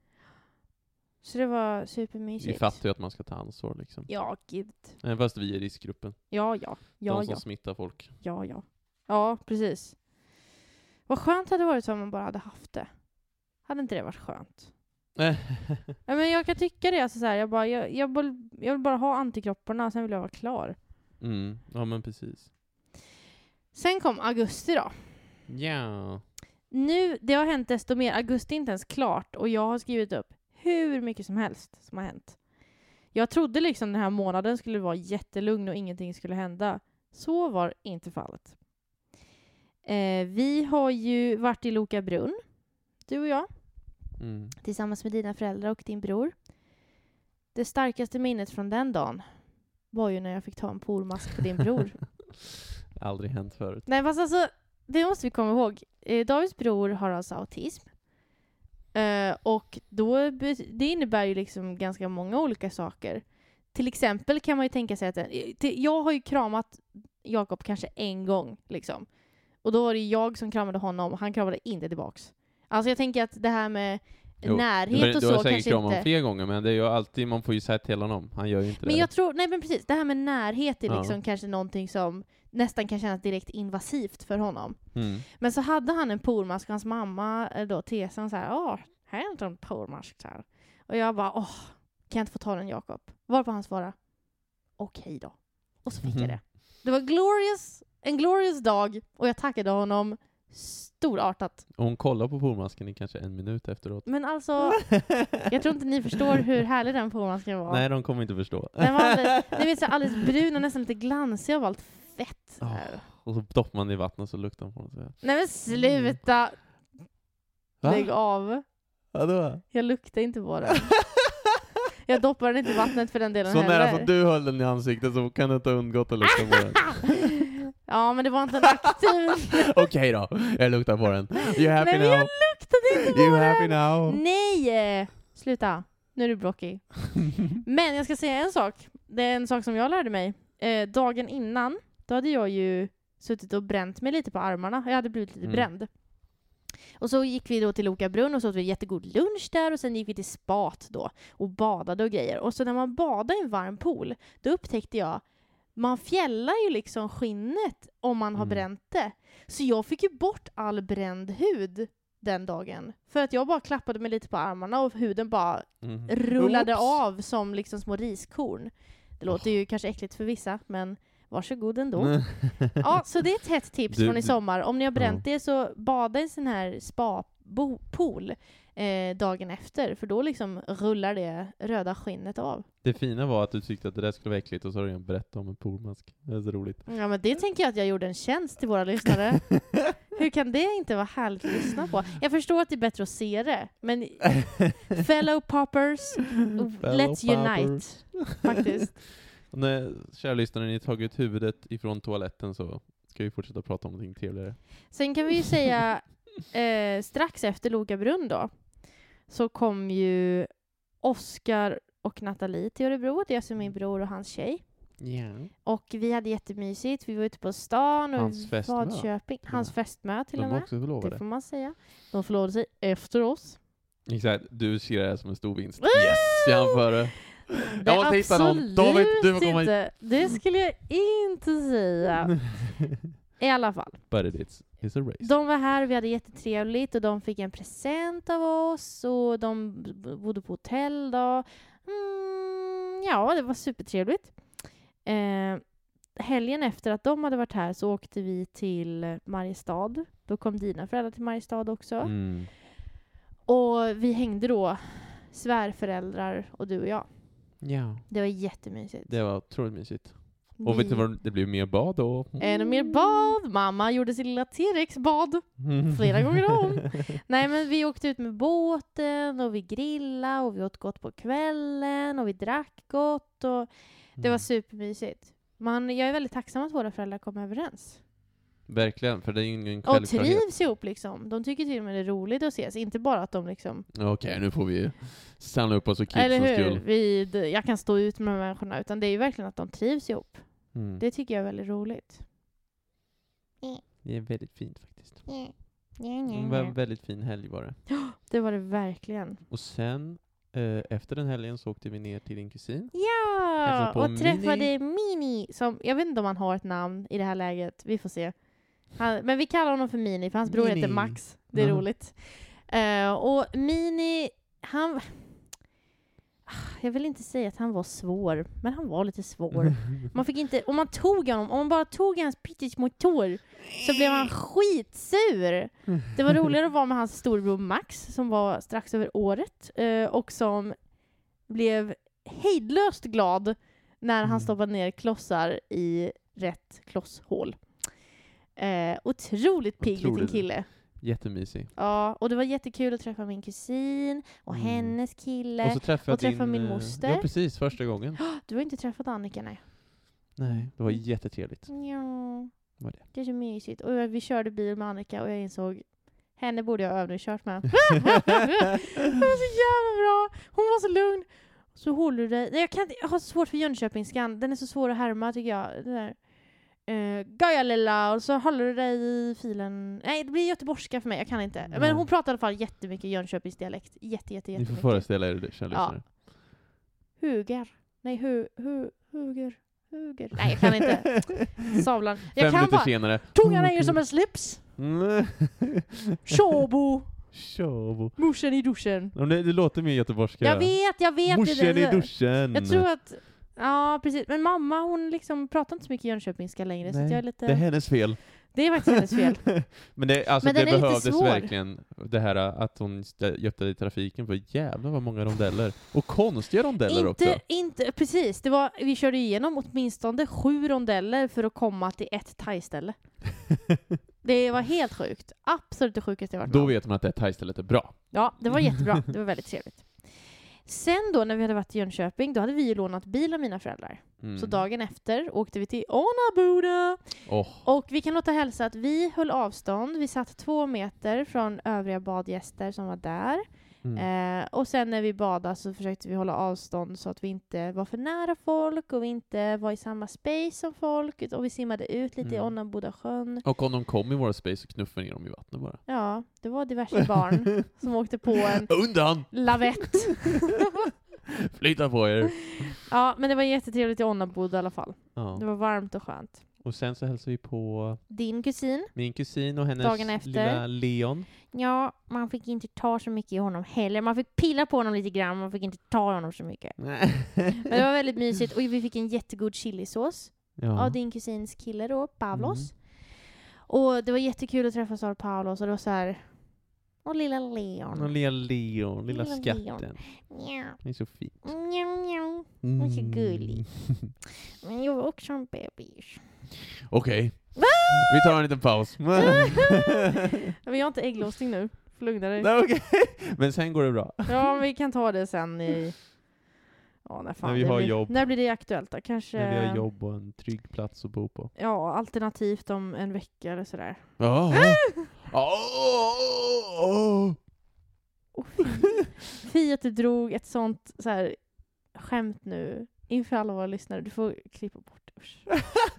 [SPEAKER 2] Så det var
[SPEAKER 1] Vi
[SPEAKER 2] supermysigt.
[SPEAKER 1] fattar ju att man ska ta ansvar liksom.
[SPEAKER 2] Ja, gud.
[SPEAKER 1] Även fast vi är i riskgruppen.
[SPEAKER 2] Ja, ja. Ja,
[SPEAKER 1] de som
[SPEAKER 2] ja.
[SPEAKER 1] smittar folk.
[SPEAKER 2] Ja, ja. Ja, precis. Vad skönt hade det varit om man bara hade haft det. Hade inte det varit skönt? Ja, men jag kan tycka det. Alltså, så här, jag, bara, jag, jag, vill, jag vill bara ha antikropparna, sen vill jag vara klar.
[SPEAKER 1] mm. Ja men precis.
[SPEAKER 2] Sen kom augusti då.
[SPEAKER 1] Ja.
[SPEAKER 2] Nu, det har hänt desto mer. Augusti är inte ens klart och jag har skrivit upp hur mycket som helst som har hänt. Jag trodde liksom den här månaden skulle vara jättelugn och ingenting skulle hända. Så var inte fallet. Eh, vi har ju varit i Loka brunn, du och jag,
[SPEAKER 1] Mm.
[SPEAKER 2] tillsammans med dina föräldrar och din bror. Det starkaste minnet från den dagen var ju när jag fick ta en pormask på din bror.
[SPEAKER 1] Aldrig hänt förut.
[SPEAKER 2] Nej fast alltså, det måste vi komma ihåg. Eh, Davids bror har alltså autism. Eh, och då, be- det innebär ju liksom ganska många olika saker. Till exempel kan man ju tänka sig att, eh, till- jag har ju kramat Jakob kanske en gång liksom. Och då var det jag som kramade honom och han kramade inte tillbaks. Alltså jag tänker att det här med
[SPEAKER 1] Jo, Men
[SPEAKER 2] närhet och
[SPEAKER 1] du har
[SPEAKER 2] så
[SPEAKER 1] säkert
[SPEAKER 2] kanske
[SPEAKER 1] kramat
[SPEAKER 2] inte...
[SPEAKER 1] honom fler gånger, men det är ju alltid, man får ju säga till honom. Han gör ju inte
[SPEAKER 2] Men
[SPEAKER 1] det.
[SPEAKER 2] jag tror, nej men precis, det här med närhet är
[SPEAKER 1] Ja.
[SPEAKER 2] liksom kanske någonting som nästan kan kännas direkt invasivt för honom.
[SPEAKER 1] Mm.
[SPEAKER 2] Men så hade han en pormask, hans mamma eh, då, Tesan, så här, åh, här är inte en pormask så här. Och jag bara, åh,
[SPEAKER 1] Mhm.
[SPEAKER 2] kan jag inte få ta den Jakob? Varpå han svarade, okej då. Och så fick jag det. Det var glorious, en glorious dag och jag tackade honom storartat.
[SPEAKER 1] Och hon kollar på pormasken i kanske en minut efteråt.
[SPEAKER 2] Men alltså, jag tror inte ni förstår hur härlig den pormasken var.
[SPEAKER 1] Nej, de kommer inte förstå.
[SPEAKER 2] Den var alldeles, ni vet, så här alldeles brun och nästan lite glansig av allt fett.
[SPEAKER 1] Åh. Och så doppar man det i vattnet så luktar de på något.
[SPEAKER 2] Nej men sluta!
[SPEAKER 1] Mm.
[SPEAKER 2] Lägg av.
[SPEAKER 1] Vadå?
[SPEAKER 2] Jag luktar inte på den. Jag doppar den inte i vattnet för den delen
[SPEAKER 1] Så
[SPEAKER 2] heller.
[SPEAKER 1] nära som du höll den i ansiktet så kan det inte ha undgått att lukta på den.
[SPEAKER 2] Ja, men det var inte en aktiv...
[SPEAKER 1] Okej då, jag luktar på den. You happy
[SPEAKER 2] Nej, men jag
[SPEAKER 1] now?
[SPEAKER 2] luktade inte på
[SPEAKER 1] You
[SPEAKER 2] den!
[SPEAKER 1] happy now?
[SPEAKER 2] Nej! Sluta. Nu är du blockig. Men jag ska säga en sak. Det är en sak som jag lärde mig. Eh, dagen innan, då hade jag ju suttit och bränt mig lite på armarna. Jag hade blivit lite
[SPEAKER 1] Mm.
[SPEAKER 2] bränd. Och så gick vi då till Loka brunn och så åt vi jättegod lunch där och sen gick vi till spat då och badade och grejer. Och så när man badar i en varm pool, då upptäckte jag man fjällar ju liksom skinnet om man har
[SPEAKER 1] Mm.
[SPEAKER 2] bränt det. Så jag fick ju bort all bränd hud den dagen. För att jag bara klappade mig lite på armarna och huden bara
[SPEAKER 1] Mm.
[SPEAKER 2] rullade
[SPEAKER 1] Oops.
[SPEAKER 2] av som liksom små riskorn. Det låter ju kanske äckligt för vissa, men varsågod ändå. ja, så det är ett hett tips
[SPEAKER 1] Du-
[SPEAKER 2] från i
[SPEAKER 1] du-
[SPEAKER 2] sommar. Om ni har bränt er så bada i en sån här spa-pool eh, dagen efter, för då liksom rullar det röda skinnet av.
[SPEAKER 1] Det fina var att du tyckte att det där skulle vara äckligt och så har du redan berättat om en pormask. Det är så roligt.
[SPEAKER 2] Ja, men det tänker jag att jag gjorde en tjänst till våra lyssnare. Hur kan det inte vara härligt att lyssna på? Jag förstår att det är bättre att se det, men fellow poppers,
[SPEAKER 1] Mm.
[SPEAKER 2] let's unite. Faktiskt.
[SPEAKER 1] Och När, kära lyssnare, ni tagit huvudet ifrån toaletten så ska vi fortsätta prata om någonting trevligare.
[SPEAKER 2] Sen kan vi ju säga, eh, strax efter Loka brunn då, så kom ju Oskar och Nathalie till Örebro. Det är alltså min
[SPEAKER 1] Mm.
[SPEAKER 2] bror och hans tjej.
[SPEAKER 1] Yeah.
[SPEAKER 2] Och vi hade jättemysigt. Vi var ute på stan och
[SPEAKER 1] Hans festmö.
[SPEAKER 2] Vadköping. Hans festmö till
[SPEAKER 1] De
[SPEAKER 2] och
[SPEAKER 1] var
[SPEAKER 2] med.
[SPEAKER 1] också förlovade.
[SPEAKER 2] Det får man säga. De förlovade sig efter oss.
[SPEAKER 1] Exakt, du ser det här som en stor vinst.
[SPEAKER 2] Woo!
[SPEAKER 1] Yes, jag är före. Jag måste hitta någon. David, du får komma hit.
[SPEAKER 2] inte. Det skulle jag inte säga. I alla fall.
[SPEAKER 1] But it is, it's a race.
[SPEAKER 2] De var här, vi hade jättetrevligt och de fick en present av oss och de b- bodde på hotell då. Mm, ja, det var supertrevligt. Eh, helgen efter att de hade varit här så åkte vi till Mariestad. Då kom dina föräldrar till Mariestad också.
[SPEAKER 1] Mm.
[SPEAKER 2] Och vi hängde då, svärföräldrar och du och jag.
[SPEAKER 1] Ja,
[SPEAKER 2] Det var jättemysigt.
[SPEAKER 1] det var otroligt mysigt. Och vet du vad, det blev mer bad då.
[SPEAKER 2] Är det Mm. mer bad? Mamma gjorde sin lilla T-rex-bad.
[SPEAKER 1] Mm.
[SPEAKER 2] Flera gånger om. Nej men vi åkte ut med båten och vi grillade och vi åt gott på kvällen och vi drack gott och det
[SPEAKER 1] Mm.
[SPEAKER 2] var supermysigt. Man, jag är väldigt tacksam att våra föräldrar kom överens.
[SPEAKER 1] Mm. Verkligen, för det är ju ingen
[SPEAKER 2] Och
[SPEAKER 1] självklarhet.
[SPEAKER 2] trivs ihop liksom. De tycker till och med det är roligt att ses, inte bara att de liksom...
[SPEAKER 1] Okej, nu får vi samla upp oss och
[SPEAKER 2] eller
[SPEAKER 1] kidsens
[SPEAKER 2] hur?
[SPEAKER 1] skull.
[SPEAKER 2] Vi, d- jag kan stå ut med människorna, utan det är ju verkligen att de trivs ihop.
[SPEAKER 1] Mm.
[SPEAKER 2] Det tycker jag är väldigt roligt.
[SPEAKER 1] Det är väldigt fint faktiskt. Det var en väldigt fin helg var det.
[SPEAKER 2] Det var det verkligen.
[SPEAKER 1] Och sen, eh, efter den helgen så åkte vi ner till din kusin.
[SPEAKER 2] Ja!
[SPEAKER 1] Hälsade på
[SPEAKER 2] Och
[SPEAKER 1] Mini.
[SPEAKER 2] träffade Mini, som, jag vet inte om han har ett namn i det här läget, vi får se. Han, men vi kallar honom för Mini, för hans bror
[SPEAKER 1] Mini.
[SPEAKER 2] heter Max. Det är
[SPEAKER 1] Ja.
[SPEAKER 2] roligt. Eh, och Mini, han... Ah, Jag vill inte säga att han var svår, men han var lite svår. Man fick inte, om man tog honom, om man bara tog hans pyttesmå tår så blev han skitsur. Det var roligare att vara med hans storbror Max som var strax över året eh, och som blev hejdlöst glad när han
[SPEAKER 1] Mm.
[SPEAKER 2] stoppade ner klossar i rätt klosshål. Eh, otroligt pigg liten
[SPEAKER 1] Otroligt.
[SPEAKER 2] kille.
[SPEAKER 1] Jättemysig.
[SPEAKER 2] Ja, och det var jättekul att träffa min kusin och
[SPEAKER 1] Mm.
[SPEAKER 2] hennes kille.
[SPEAKER 1] Och så träffade
[SPEAKER 2] och
[SPEAKER 1] jag
[SPEAKER 2] träffade min
[SPEAKER 1] eh,
[SPEAKER 2] moster.
[SPEAKER 1] Ja, precis. Första gången.
[SPEAKER 2] Du har inte träffat Annika, nej?
[SPEAKER 1] Nej, det var jättetrevligt.
[SPEAKER 2] Ja.
[SPEAKER 1] Vad är det?
[SPEAKER 2] är så mysigt. Och jag- vi körde bil med Annika och jag insåg henne borde jag ha övningskört med. det var så jävla bra! Hon var så lugn. Så håller du dig. Nej, Jag, kan inte, jag har så svårt för Jönköpingskan. Den är så svår att härma tycker jag. Den där. Uh, Gaja lilla, och så håller du dig i filen. Nej, det blir göteborgska för mig. Jag kan inte.
[SPEAKER 1] Nej.
[SPEAKER 2] Men hon pratar i alla fall jättemycket Jönköpingsdialekt. Jätte, jätte,
[SPEAKER 1] Ni får
[SPEAKER 2] jättemycket.
[SPEAKER 1] föreställa er det, kära
[SPEAKER 2] Ja.
[SPEAKER 1] lyssnare.
[SPEAKER 2] Huger. Nej, hu, hu, huger. Huger. Nej, jag kan inte. Savlan.
[SPEAKER 1] Fem
[SPEAKER 2] Jag kan
[SPEAKER 1] minuter
[SPEAKER 2] bara.
[SPEAKER 1] senare.
[SPEAKER 2] Tungan är ju som en slips.
[SPEAKER 1] Mm.
[SPEAKER 2] Tjobo!
[SPEAKER 1] Tjobo.
[SPEAKER 2] Morsan i duschen.
[SPEAKER 1] Om Det, det låter mer göteborgska.
[SPEAKER 2] Jag vet, jag vet.
[SPEAKER 1] Morsan i
[SPEAKER 2] det,
[SPEAKER 1] duschen.
[SPEAKER 2] jag tror att Ja, precis. Men mamma hon liksom pratar inte så mycket jönköpingska längre, så
[SPEAKER 1] Nej,
[SPEAKER 2] att jag är lite...
[SPEAKER 1] Det är hennes fel.
[SPEAKER 2] det är faktiskt hennes fel.
[SPEAKER 1] Men det, alltså,
[SPEAKER 2] Men
[SPEAKER 1] det
[SPEAKER 2] den är lite
[SPEAKER 1] behövdes
[SPEAKER 2] svår.
[SPEAKER 1] verkligen, det här att hon stä- hjälpte dig i trafiken, för jävlar vad många rondeller. Och konstiga rondeller också.
[SPEAKER 2] Inte, inte, precis. Det var, vi körde igenom åtminstone sju rondeller för att komma till ett thaiställe. det var helt sjukt. Absolut det sjukaste jag varit med
[SPEAKER 1] Då
[SPEAKER 2] om.
[SPEAKER 1] vet man att det här thai-stället är bra.
[SPEAKER 2] Ja, det var jättebra. Det var väldigt trevligt. Sen då när vi hade varit i Jönköping, då hade vi ju lånat bil av mina föräldrar.
[SPEAKER 1] Mm.
[SPEAKER 2] Så dagen efter åkte vi till Onaboda.
[SPEAKER 1] Åh,
[SPEAKER 2] Och vi kan låta hälsa att vi höll avstånd. Vi satt två meter från övriga badgäster som var där.
[SPEAKER 1] mm.
[SPEAKER 2] Eh, och sen när vi badade så försökte vi hålla avstånd så att vi inte var för nära folk och vi inte var i samma space som folk. ut- Och vi simmade ut lite i
[SPEAKER 1] Mm.
[SPEAKER 2] Onaboda sjön.
[SPEAKER 1] Och om de kom i våra space så knuffade ner dem i vattnet bara.
[SPEAKER 2] Ja, det var diverse barn som åkte på en
[SPEAKER 1] Undan!
[SPEAKER 2] lavett.
[SPEAKER 1] Flytta på er!
[SPEAKER 2] ja, men det var jättetrevligt i Onaboda i alla fall. Det
[SPEAKER 1] Ja.
[SPEAKER 2] var varmt och skönt.
[SPEAKER 1] Och sen så hälsade vi på
[SPEAKER 2] Din kusin?
[SPEAKER 1] min kusin och hennes
[SPEAKER 2] Dagen efter.
[SPEAKER 1] lilla Leon.
[SPEAKER 2] Ja, man fick inte ta så mycket i honom heller. Man fick pilla på honom lite grann, man fick inte ta i honom så mycket. Men det var väldigt mysigt och vi fick en jättegod chilisås
[SPEAKER 1] ja. Mm.
[SPEAKER 2] av din kusins kille då, Pavlos. Och det var jättekul att träffa Sara Pavlos och det var så här... Och lilla Leon.
[SPEAKER 1] Och lilla Leon, lilla,
[SPEAKER 2] Lilla
[SPEAKER 1] skatten.
[SPEAKER 2] Leon. Mjau,
[SPEAKER 1] Det är så Mm. fint.
[SPEAKER 2] mjau, mjau. är så gullig. Men jag var också en bebis.
[SPEAKER 1] Okej,
[SPEAKER 2] Va?
[SPEAKER 1] vi tar en liten paus.
[SPEAKER 2] Vi har inte ägglossning nu. Lugna dig.
[SPEAKER 1] Nej, okej. Men sen går det bra.
[SPEAKER 2] Ja, men vi kan ta det sen i... Ja, när, fan
[SPEAKER 1] När vi
[SPEAKER 2] det
[SPEAKER 1] har
[SPEAKER 2] blir,
[SPEAKER 1] jobb.
[SPEAKER 2] När blir det aktuellt då? Kanske...
[SPEAKER 1] När vi har jobb och en trygg plats att bo på.
[SPEAKER 2] Ja, alternativt om en vecka eller sådär.
[SPEAKER 1] Ja. Ah. Åh, åh, åh.
[SPEAKER 2] Oh, fy. fy att du drog ett sånt så här, skämt nu inför alla våra lyssnare. Du får klippa bort det. usch.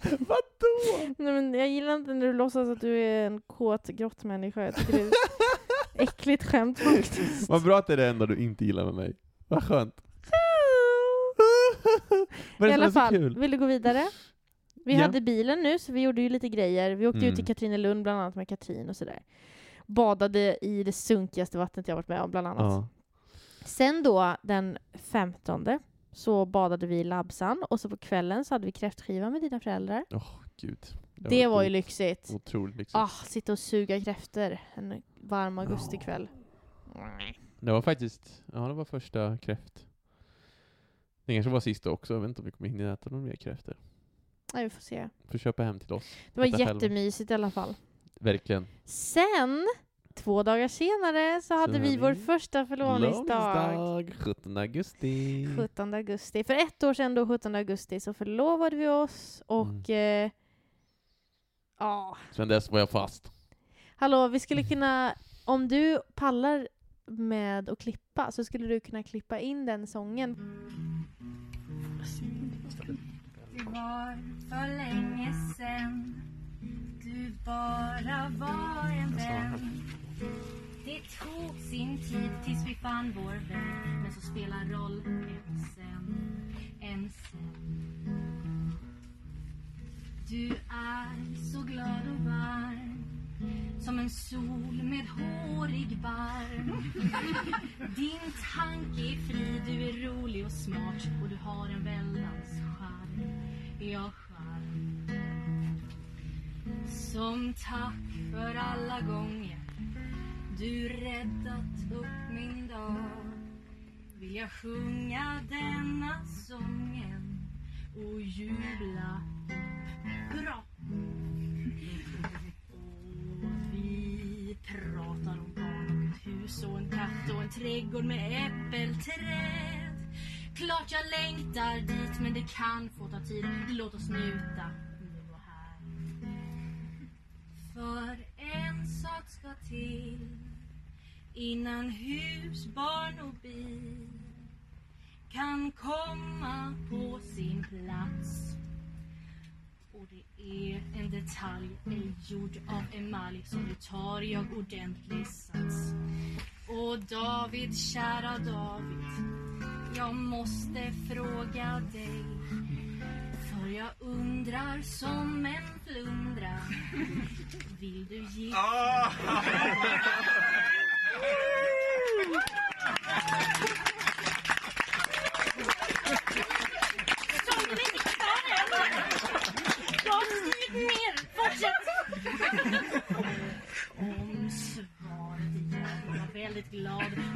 [SPEAKER 1] Vadå?
[SPEAKER 2] Nej, men jag gillar inte när du låtsas att du är en kåt grottmänniska. Jag tycker det är ett äckligt skämt faktiskt.
[SPEAKER 1] Vad bra att det är det enda du inte gillar med mig. Vad skönt. Vad
[SPEAKER 2] I
[SPEAKER 1] är det
[SPEAKER 2] alla
[SPEAKER 1] som är så
[SPEAKER 2] fall,
[SPEAKER 1] kul?
[SPEAKER 2] vill du gå vidare? Vi
[SPEAKER 1] Ja.
[SPEAKER 2] hade bilen nu, så vi gjorde ju lite grejer. Vi åkte
[SPEAKER 1] Mm.
[SPEAKER 2] ut till Katrinelund bland annat med Katrin och sådär. Badade i det sunkigaste vattnet jag varit med om bland annat.
[SPEAKER 1] Ja.
[SPEAKER 2] Sen då den 15 så badade vi i Labsan och så på kvällen så hade vi kräftskiva med dina föräldrar.
[SPEAKER 1] Gud.
[SPEAKER 2] Det, var ju lyxigt.
[SPEAKER 1] Otroligt lyxigt.
[SPEAKER 2] Ah, sitta och suga kräftor en varm augustikväll.
[SPEAKER 1] Det var faktiskt, ja det var första kräft. Det kanske var sista också, jag vet inte om vi kommer hinna äta några mer kräftor.
[SPEAKER 2] Nej, vi får se.
[SPEAKER 1] Får köpa hem till oss.
[SPEAKER 2] Det var
[SPEAKER 1] Äta själva.
[SPEAKER 2] jättemysigt i alla fall.
[SPEAKER 1] Verkligen.
[SPEAKER 2] Sen, två dagar senare, så hade
[SPEAKER 1] Så
[SPEAKER 2] vi
[SPEAKER 1] hade
[SPEAKER 2] vår
[SPEAKER 1] vi
[SPEAKER 2] första förlovningsdag.
[SPEAKER 1] Långsdag, 17 augusti.
[SPEAKER 2] 17 augusti. För ett år sedan då, 17 augusti, så förlovade vi oss och...
[SPEAKER 1] Mm.
[SPEAKER 2] Eh, ja,
[SPEAKER 1] Sen dess var jag fast.
[SPEAKER 2] Hallå, vi skulle kunna... Om du pallar med att klippa så skulle du kunna klippa in den sången.
[SPEAKER 3] Det var för länge sen Du bara var en vän Det tog sin tid tills vi fann vår väg Men så spelar roll en sen, en sen Du är så glad och varm som en sol med hårig barm Din tanke är fri, du är rolig och smart och du har en väldans charm Ja, charm Som tack för alla gånger du räddat upp min dag vill jag sjunga denna sången och jubla bra och vi pratar om barn och ett hus och en katt och en trädgård med äppelträd. Klart jag längtar dit men det kan få ta tid. Låt oss njuta nu och här. För en sak ska till innan hus, barn och bil kan komma på sin plats. Och det är en detalj ej gjord av emalj som nu tar jag ordentlig sats. Och David, kära David, jag måste fråga dig. För jag undrar som en flundra. Vill du gifta Så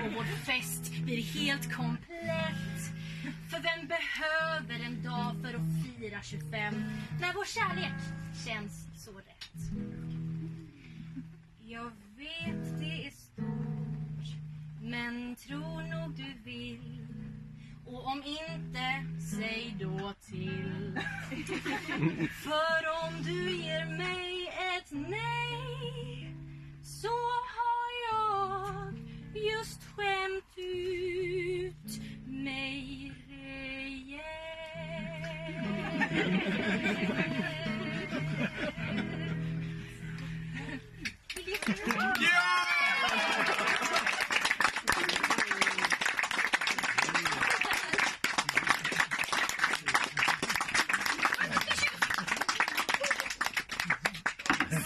[SPEAKER 3] och vår fest blir helt komplett. För vem behöver en dag för att fira 25 när vår kärlek känns så rätt? Jag vet det är stort, men tror nog du vill. Och om inte, säg då till. För om du ger mig ett nej så har jag just skämt ut mig rejält.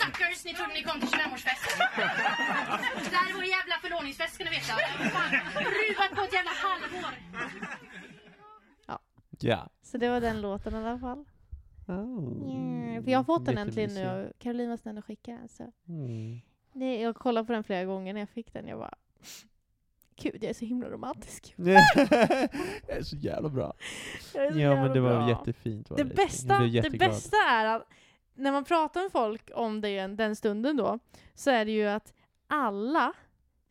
[SPEAKER 3] Suckers, ni trodde ni kom till 25-årsfesten. Det här är vår jävla förlovningsfest ska ni veta. Fan, Ruvat på ett jävla halvår.
[SPEAKER 1] Ja.
[SPEAKER 2] Så det var den låten i alla fall. För
[SPEAKER 1] Mm.
[SPEAKER 2] jag har fått den
[SPEAKER 1] Lite
[SPEAKER 2] äntligen
[SPEAKER 1] mysig.
[SPEAKER 2] nu och Caroline var snäll och skickade den. Så.
[SPEAKER 1] Mm.
[SPEAKER 2] Det, jag kollade på den flera gånger när jag fick den. Jag bara, gud jag är så himla romantisk.
[SPEAKER 1] det är så jävla bra.
[SPEAKER 2] Jag är så
[SPEAKER 1] Ja men
[SPEAKER 2] jävla
[SPEAKER 1] det var
[SPEAKER 2] bra.
[SPEAKER 1] jättefint. Var
[SPEAKER 2] Det
[SPEAKER 1] Raising. Jag
[SPEAKER 2] bästa,
[SPEAKER 1] blev
[SPEAKER 2] det
[SPEAKER 1] jätteglad.
[SPEAKER 2] bästa är att när man pratar med folk om det den- den stunden då, så är det ju att alla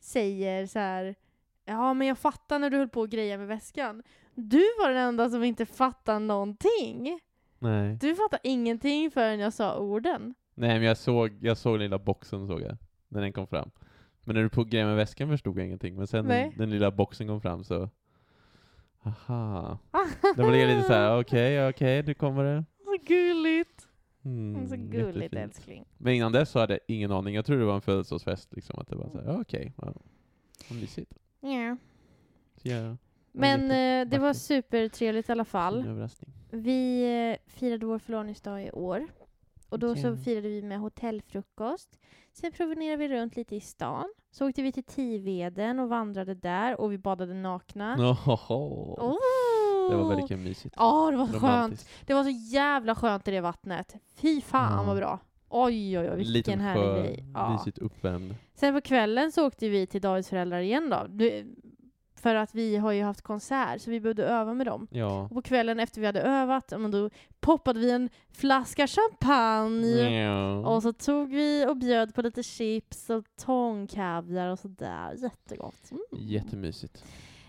[SPEAKER 2] säger så här Ja men jag fattar när du höll på att greja med väskan. Du var den enda som inte fattade någonting.
[SPEAKER 1] Nej.
[SPEAKER 2] Du fattade ingenting förrän jag sa orden.
[SPEAKER 1] Nej men jag såg, jag såg den lilla boxen såg jag, när den kom fram. Men när du på grejen med väskan förstod jag ingenting, men sen
[SPEAKER 2] Nej.
[SPEAKER 1] den, den lilla boxen kom fram så... Aha. Då blev jag lite såhär, okej, okej, nu kommer det.
[SPEAKER 2] Så gulligt!
[SPEAKER 1] Mm,
[SPEAKER 2] så gulligt
[SPEAKER 1] jättefint.
[SPEAKER 2] älskling.
[SPEAKER 1] Men innan dess så hade jag ingen aning, jag trodde det var en födelsedagsfest liksom, att det var
[SPEAKER 2] Mm.
[SPEAKER 1] såhär, ja, okej, ja. vad mysigt.
[SPEAKER 2] Ja.
[SPEAKER 1] Så ja,
[SPEAKER 2] Men eh, det var
[SPEAKER 1] jättevackert.
[SPEAKER 2] supertrevligt i alla fall.
[SPEAKER 1] fin överraskning.
[SPEAKER 2] Vi eh, firade vår förlovningsdag i år. Och då så
[SPEAKER 1] Ja.
[SPEAKER 2] firade vi med hotellfrukost. Sen promenerade vi runt lite i stan. Så åkte vi till Tiveden och vandrade där och vi badade nakna.
[SPEAKER 1] Ohoho.
[SPEAKER 2] Oh. Åh!
[SPEAKER 1] Det var väldigt mysigt.
[SPEAKER 2] Ja, det var så skönt.
[SPEAKER 1] Romantiskt.
[SPEAKER 2] Det var så jävla skönt i det vattnet. Fy fan
[SPEAKER 1] Ja.
[SPEAKER 2] vad bra. Oj, oj, oj, vilken
[SPEAKER 1] Liten
[SPEAKER 2] härlig
[SPEAKER 1] sjö,
[SPEAKER 2] grej. Ja.
[SPEAKER 1] mysigt uppvärmd.
[SPEAKER 2] Sen på kvällen så åkte vi till Davids föräldrar igen då. Du, för att vi har ju haft konsert, så vi behövde öva med dem.
[SPEAKER 1] Ja.
[SPEAKER 2] Och på kvällen efter vi hade övat, ja, men då poppade vi en flaska champagne.
[SPEAKER 1] Ja.
[SPEAKER 2] Och så tog vi och bjöd på lite chips och tångkaviar och sådär. Jättegott. Mm.
[SPEAKER 1] Jättemysigt.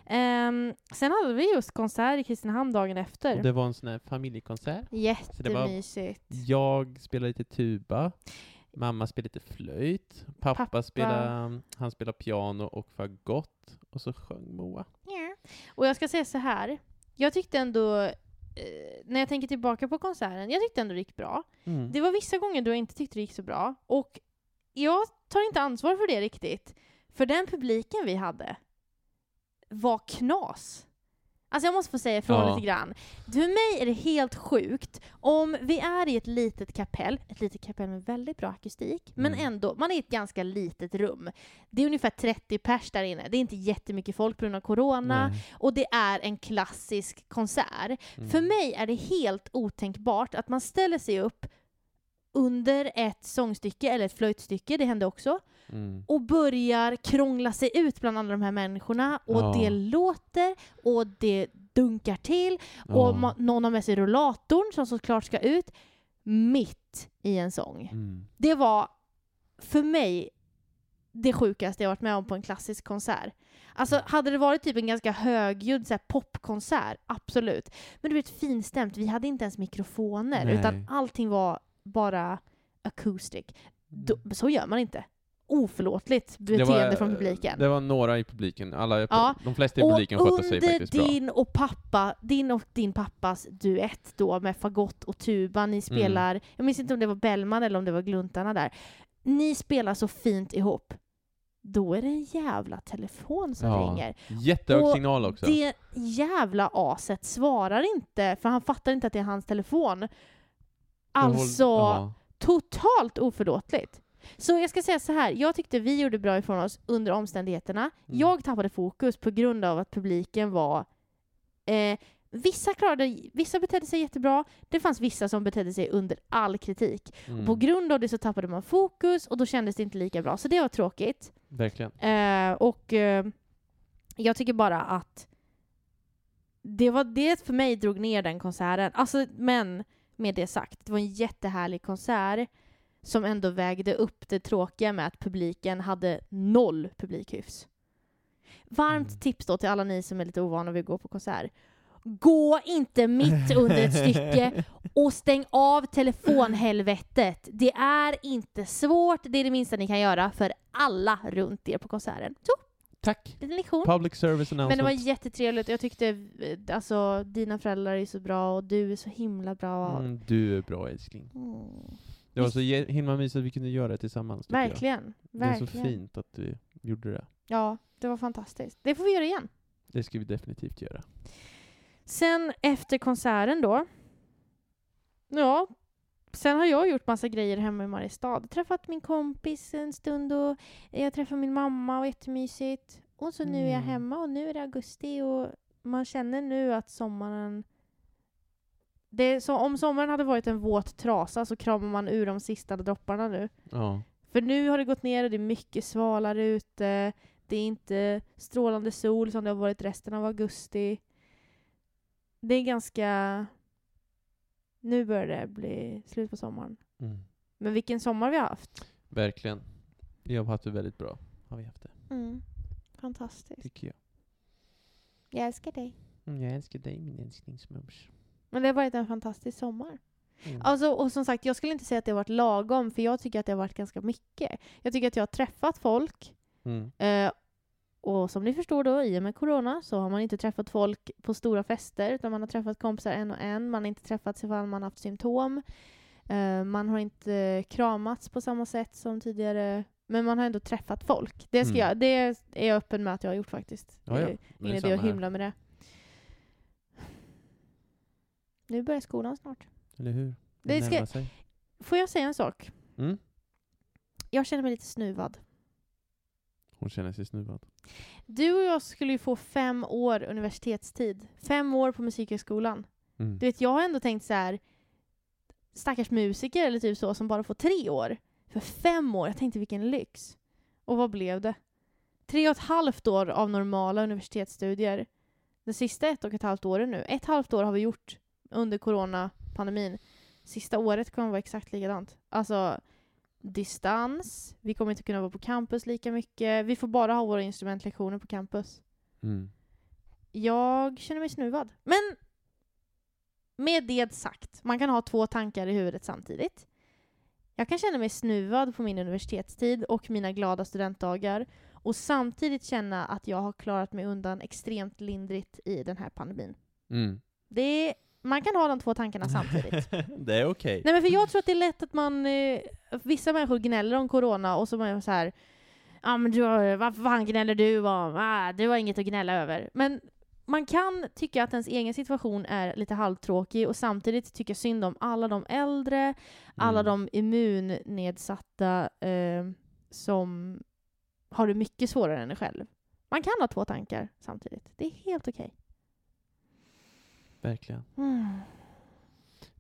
[SPEAKER 2] Ehm, sen hade vi just konsert i Kristinehamn dagen efter.
[SPEAKER 1] Och det var en sån här familjekonsert. det var- Mm.
[SPEAKER 2] Jättemysigt.
[SPEAKER 1] Jag spelade lite tuba, mamma spelade lite flöjt, pappa,
[SPEAKER 2] Pappa.
[SPEAKER 1] spelade, han spelade piano och fagott, och så sjöng Moa.
[SPEAKER 2] Ja. Och jag ska säga så här. Jag tyckte ändå, eh, när jag tänker tillbaka på konserten, jag tyckte ändå det gick bra.
[SPEAKER 1] Mm.
[SPEAKER 2] Det var vissa gånger då jag inte tyckte det gick så bra. Och jag tar inte ansvar för det riktigt. För den publiken vi hade var knas. Alltså jag måste få säga ifrån
[SPEAKER 1] Ja.
[SPEAKER 2] lite grann. För mig är det helt sjukt om vi är i ett litet kapell, ett litet kapell med väldigt bra akustik, men
[SPEAKER 1] Mm.
[SPEAKER 2] ändå, man är i ett ganska litet rum. Det är ungefär 30 pers där inne. Det är inte jättemycket folk på grund av corona,
[SPEAKER 1] Nej.
[SPEAKER 2] och det är en klassisk konsert.
[SPEAKER 1] Mm.
[SPEAKER 2] För mig är det helt otänkbart att man ställer sig upp under ett sångstycke eller ett flöjtstycke, det hände också,
[SPEAKER 1] Mm.
[SPEAKER 2] och börjar krångla sig ut bland alla de här människorna och
[SPEAKER 1] Ja.
[SPEAKER 2] det låter och det dunkar till och
[SPEAKER 1] Ja.
[SPEAKER 2] ma- någon har med sig rullatorn som såklart ska ut mitt i en sång.
[SPEAKER 1] Mm.
[SPEAKER 2] Det var för mig det sjukaste jag varit med om på en klassisk konsert. Alltså hade det varit typ en ganska högljudd så här, popkonsert, absolut. Men du vet finstämt, vi hade inte ens mikrofoner
[SPEAKER 1] Nej.
[SPEAKER 2] utan allting var bara acoustic. Då, så gör man inte. Oförlåtligt
[SPEAKER 1] Mm. Det
[SPEAKER 2] beteende
[SPEAKER 1] var-
[SPEAKER 2] från publiken.
[SPEAKER 1] Det var några i publiken, alla,
[SPEAKER 2] Ja.
[SPEAKER 1] de flesta i
[SPEAKER 2] och
[SPEAKER 1] Typ publiken skötte sig
[SPEAKER 2] under
[SPEAKER 1] faktiskt bra.
[SPEAKER 2] din och, pappa, din och din pappas duett då med fagott och tuba,
[SPEAKER 1] Mm.
[SPEAKER 2] ni spelar, jag minns inte om det var Bellman eller om det var Gluntarna där, ni spelar så fint ihop. Då är det en jävla telefon som
[SPEAKER 1] Ja.
[SPEAKER 2] ringer.
[SPEAKER 1] Jättehög
[SPEAKER 2] och
[SPEAKER 1] signal också.
[SPEAKER 2] Det jävla aset svarar inte, för han fattar inte att det är hans telefon.
[SPEAKER 1] De håll-
[SPEAKER 2] Alltså,
[SPEAKER 1] ja.
[SPEAKER 2] totalt oförlåtligt. Så jag ska säga så här, jag tyckte vi gjorde bra ifrån oss under omständigheterna.
[SPEAKER 1] Mm.
[SPEAKER 2] Jag tappade fokus på grund av att publiken var... Eh, vissa, klarade, vissa betedde sig jättebra, det fanns vissa som betedde sig under all kritik.
[SPEAKER 1] Mm.
[SPEAKER 2] På grund av det så tappade man fokus och då kändes det inte lika bra, så det var tråkigt.
[SPEAKER 1] Verkligen.
[SPEAKER 2] Eh, och eh, Jag tycker bara att det var det för mig drog ner den konserten. Alltså, men med det sagt, det var en jättehärlig konsert som ändå vägde upp det tråkiga med att publiken hade noll publikhyfs. Varmt
[SPEAKER 1] Mm.
[SPEAKER 2] tips då till alla ni som är lite ovana vid att gå på konsert. Gå inte mitt under ett stycke och stäng av telefonhelvetet. Det är inte svårt, det är det minsta ni kan göra för alla runt er på konserten. Så,
[SPEAKER 1] Tack!
[SPEAKER 2] liten lektion.
[SPEAKER 1] Public service announcement.
[SPEAKER 2] Men det var jättetrevligt. Jag tyckte eh, alltså dina föräldrar är så bra och du är så himla bra.
[SPEAKER 1] Mm, du är bra älskling.
[SPEAKER 2] Mm.
[SPEAKER 1] Det var så je- himla mysigt att vi kunde göra det tillsammans. tycker jag.
[SPEAKER 2] Verkligen.
[SPEAKER 1] Det är så
[SPEAKER 2] Verkligen.
[SPEAKER 1] fint att du gjorde det.
[SPEAKER 2] Ja, det var fantastiskt. Det får vi göra igen.
[SPEAKER 1] Det ska vi definitivt göra.
[SPEAKER 2] Sen efter konserten då. Ja, sen har jag gjort massa grejer hemma i Mariestad. Träffat min kompis en stund och jag träffade min mamma och jättemysigt. Och så nu är jag
[SPEAKER 1] Mm.
[SPEAKER 2] hemma och nu är det augusti och man känner nu att sommaren... Det är så, om sommaren hade varit en våt trasa så kramar man ur de sista dropparna nu.
[SPEAKER 1] Ja.
[SPEAKER 2] För nu har det gått ner och det är mycket svalare ute. Det är inte strålande sol som det har varit resten av augusti. Det är ganska... Nu börjar det bli slut på sommaren.
[SPEAKER 1] Mm.
[SPEAKER 2] Men vilken sommar vi har haft.
[SPEAKER 1] Verkligen. Vi har haft det väldigt bra. Har vi haft det,
[SPEAKER 2] Mm. Fantastiskt.
[SPEAKER 1] tycker jag.
[SPEAKER 2] Jag älskar dig.
[SPEAKER 1] Mm, jag älskar dig min älsklingsmums.
[SPEAKER 2] Men det har varit en fantastisk sommar.
[SPEAKER 1] Mm.
[SPEAKER 2] Alltså, och som sagt, jag skulle inte säga att det har varit lagom, för jag tycker att det har varit ganska mycket. Jag tycker att jag har träffat folk
[SPEAKER 1] Mm.
[SPEAKER 2] Eh, och som ni förstår då, i och med corona så har man inte träffat folk på stora fester utan man har träffat kompisar en och en. Man har inte träffats ifall man har haft symptom. Eh, man har inte kramats på samma sätt som tidigare. Men man har ändå träffat folk. Det, ska
[SPEAKER 1] Mm.
[SPEAKER 2] jag, det är jag öppen med att jag har gjort faktiskt.
[SPEAKER 1] Ja, ja.
[SPEAKER 2] Eh,
[SPEAKER 1] Men
[SPEAKER 2] Ingen
[SPEAKER 1] det är
[SPEAKER 2] idé att
[SPEAKER 1] samma här.
[SPEAKER 2] hymla med det. Nu börjar skolan snart.
[SPEAKER 1] Eller hur?
[SPEAKER 2] Det ska-
[SPEAKER 1] närmar sig.
[SPEAKER 2] Får jag säga en sak?
[SPEAKER 1] Mm.
[SPEAKER 2] Jag känner mig lite snuvad.
[SPEAKER 1] Hon känner sig snuvad.
[SPEAKER 2] Du och jag skulle ju få fem år universitetstid. Fem år på Musikhögskolan.
[SPEAKER 1] Mm.
[SPEAKER 2] Du vet, jag har ändå tänkt så här stackars musiker eller typ så som bara får tre år. För fem år, jag tänkte vilken lyx. Och vad blev det? Tre och ett halvt år av normala universitetsstudier. De sista ett och ett halvt åren nu. Ett halvt år har vi gjort under coronapandemin. Sista året kommer vara exakt likadant. Alltså distans, vi kommer inte kunna vara på campus lika mycket. Vi får bara ha våra instrumentlektioner på campus.
[SPEAKER 1] Mm.
[SPEAKER 2] Jag känner mig snuvad. Men med det sagt, man kan ha två tankar i huvudet samtidigt. Jag kan känna mig snuvad på min universitetstid och mina glada studentdagar och samtidigt känna att jag har klarat mig undan extremt lindrigt i den här pandemin.
[SPEAKER 1] Mm.
[SPEAKER 2] Det är, man kan ha de två tankarna samtidigt.
[SPEAKER 1] det är okej.
[SPEAKER 2] Nej men för jag tror att det är lätt att man, eh, vissa människor gnäller om corona och så man så här, ja men du, har- vad fan gnäller du om? Ah, du har inget att gnälla över. Men man kan tycka att ens egen situation är lite halvtråkig och samtidigt tycka synd om alla de äldre, alla
[SPEAKER 1] Mm.
[SPEAKER 2] de immunnedsatta eh, som har det mycket svårare än en själv. Man kan ha två tankar samtidigt. Det är helt okej.
[SPEAKER 1] Verkligen.
[SPEAKER 2] Mm.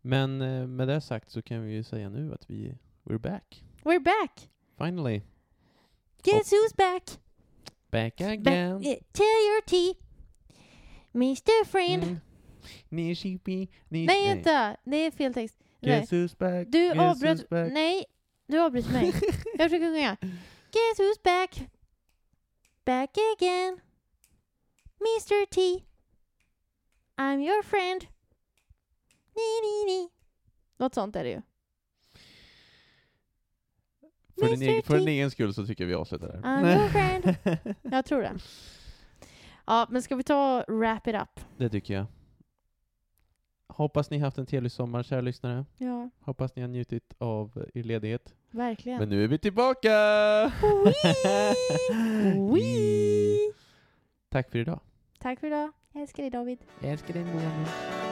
[SPEAKER 1] Men eh, med det sagt så kan vi ju säga nu att vi, we're back.
[SPEAKER 2] We're back!
[SPEAKER 1] Finally.
[SPEAKER 2] Guess who's back?
[SPEAKER 1] Back
[SPEAKER 2] Back,
[SPEAKER 1] again.
[SPEAKER 2] eh, tell your tea. Mr Friend.
[SPEAKER 1] Mm. Ni shippy, ni...
[SPEAKER 2] Nej, vänta. Det är fel text. Nej.
[SPEAKER 1] Guess who's back?
[SPEAKER 2] Du
[SPEAKER 1] Guess
[SPEAKER 2] avbröt...
[SPEAKER 1] who's back?
[SPEAKER 2] Nej, du avbröt mig. Jag försöker sjunga. Guess who's back? Back again. Mr T. I'm your friend. Ni, ni, ni. Något sånt är det ju.
[SPEAKER 1] För din,
[SPEAKER 2] Mr.
[SPEAKER 1] egen, för din
[SPEAKER 2] T.
[SPEAKER 1] egen skull så tycker jag vi avslutar där.
[SPEAKER 2] I'm your friend. Jag tror det. Ja, men ska vi ta wrap it up?
[SPEAKER 1] Det tycker jag. Hoppas ni haft en trevlig sommar, kära lyssnare.
[SPEAKER 2] Ja,
[SPEAKER 1] Hoppas ni har njutit av er ledighet.
[SPEAKER 2] verkligen.
[SPEAKER 1] Men nu är vi tillbaka!
[SPEAKER 2] Wee! Wee!
[SPEAKER 1] Tack för idag.
[SPEAKER 2] Tack för idag. Jag älskar dig David.
[SPEAKER 1] Jag älskar dig, Moa.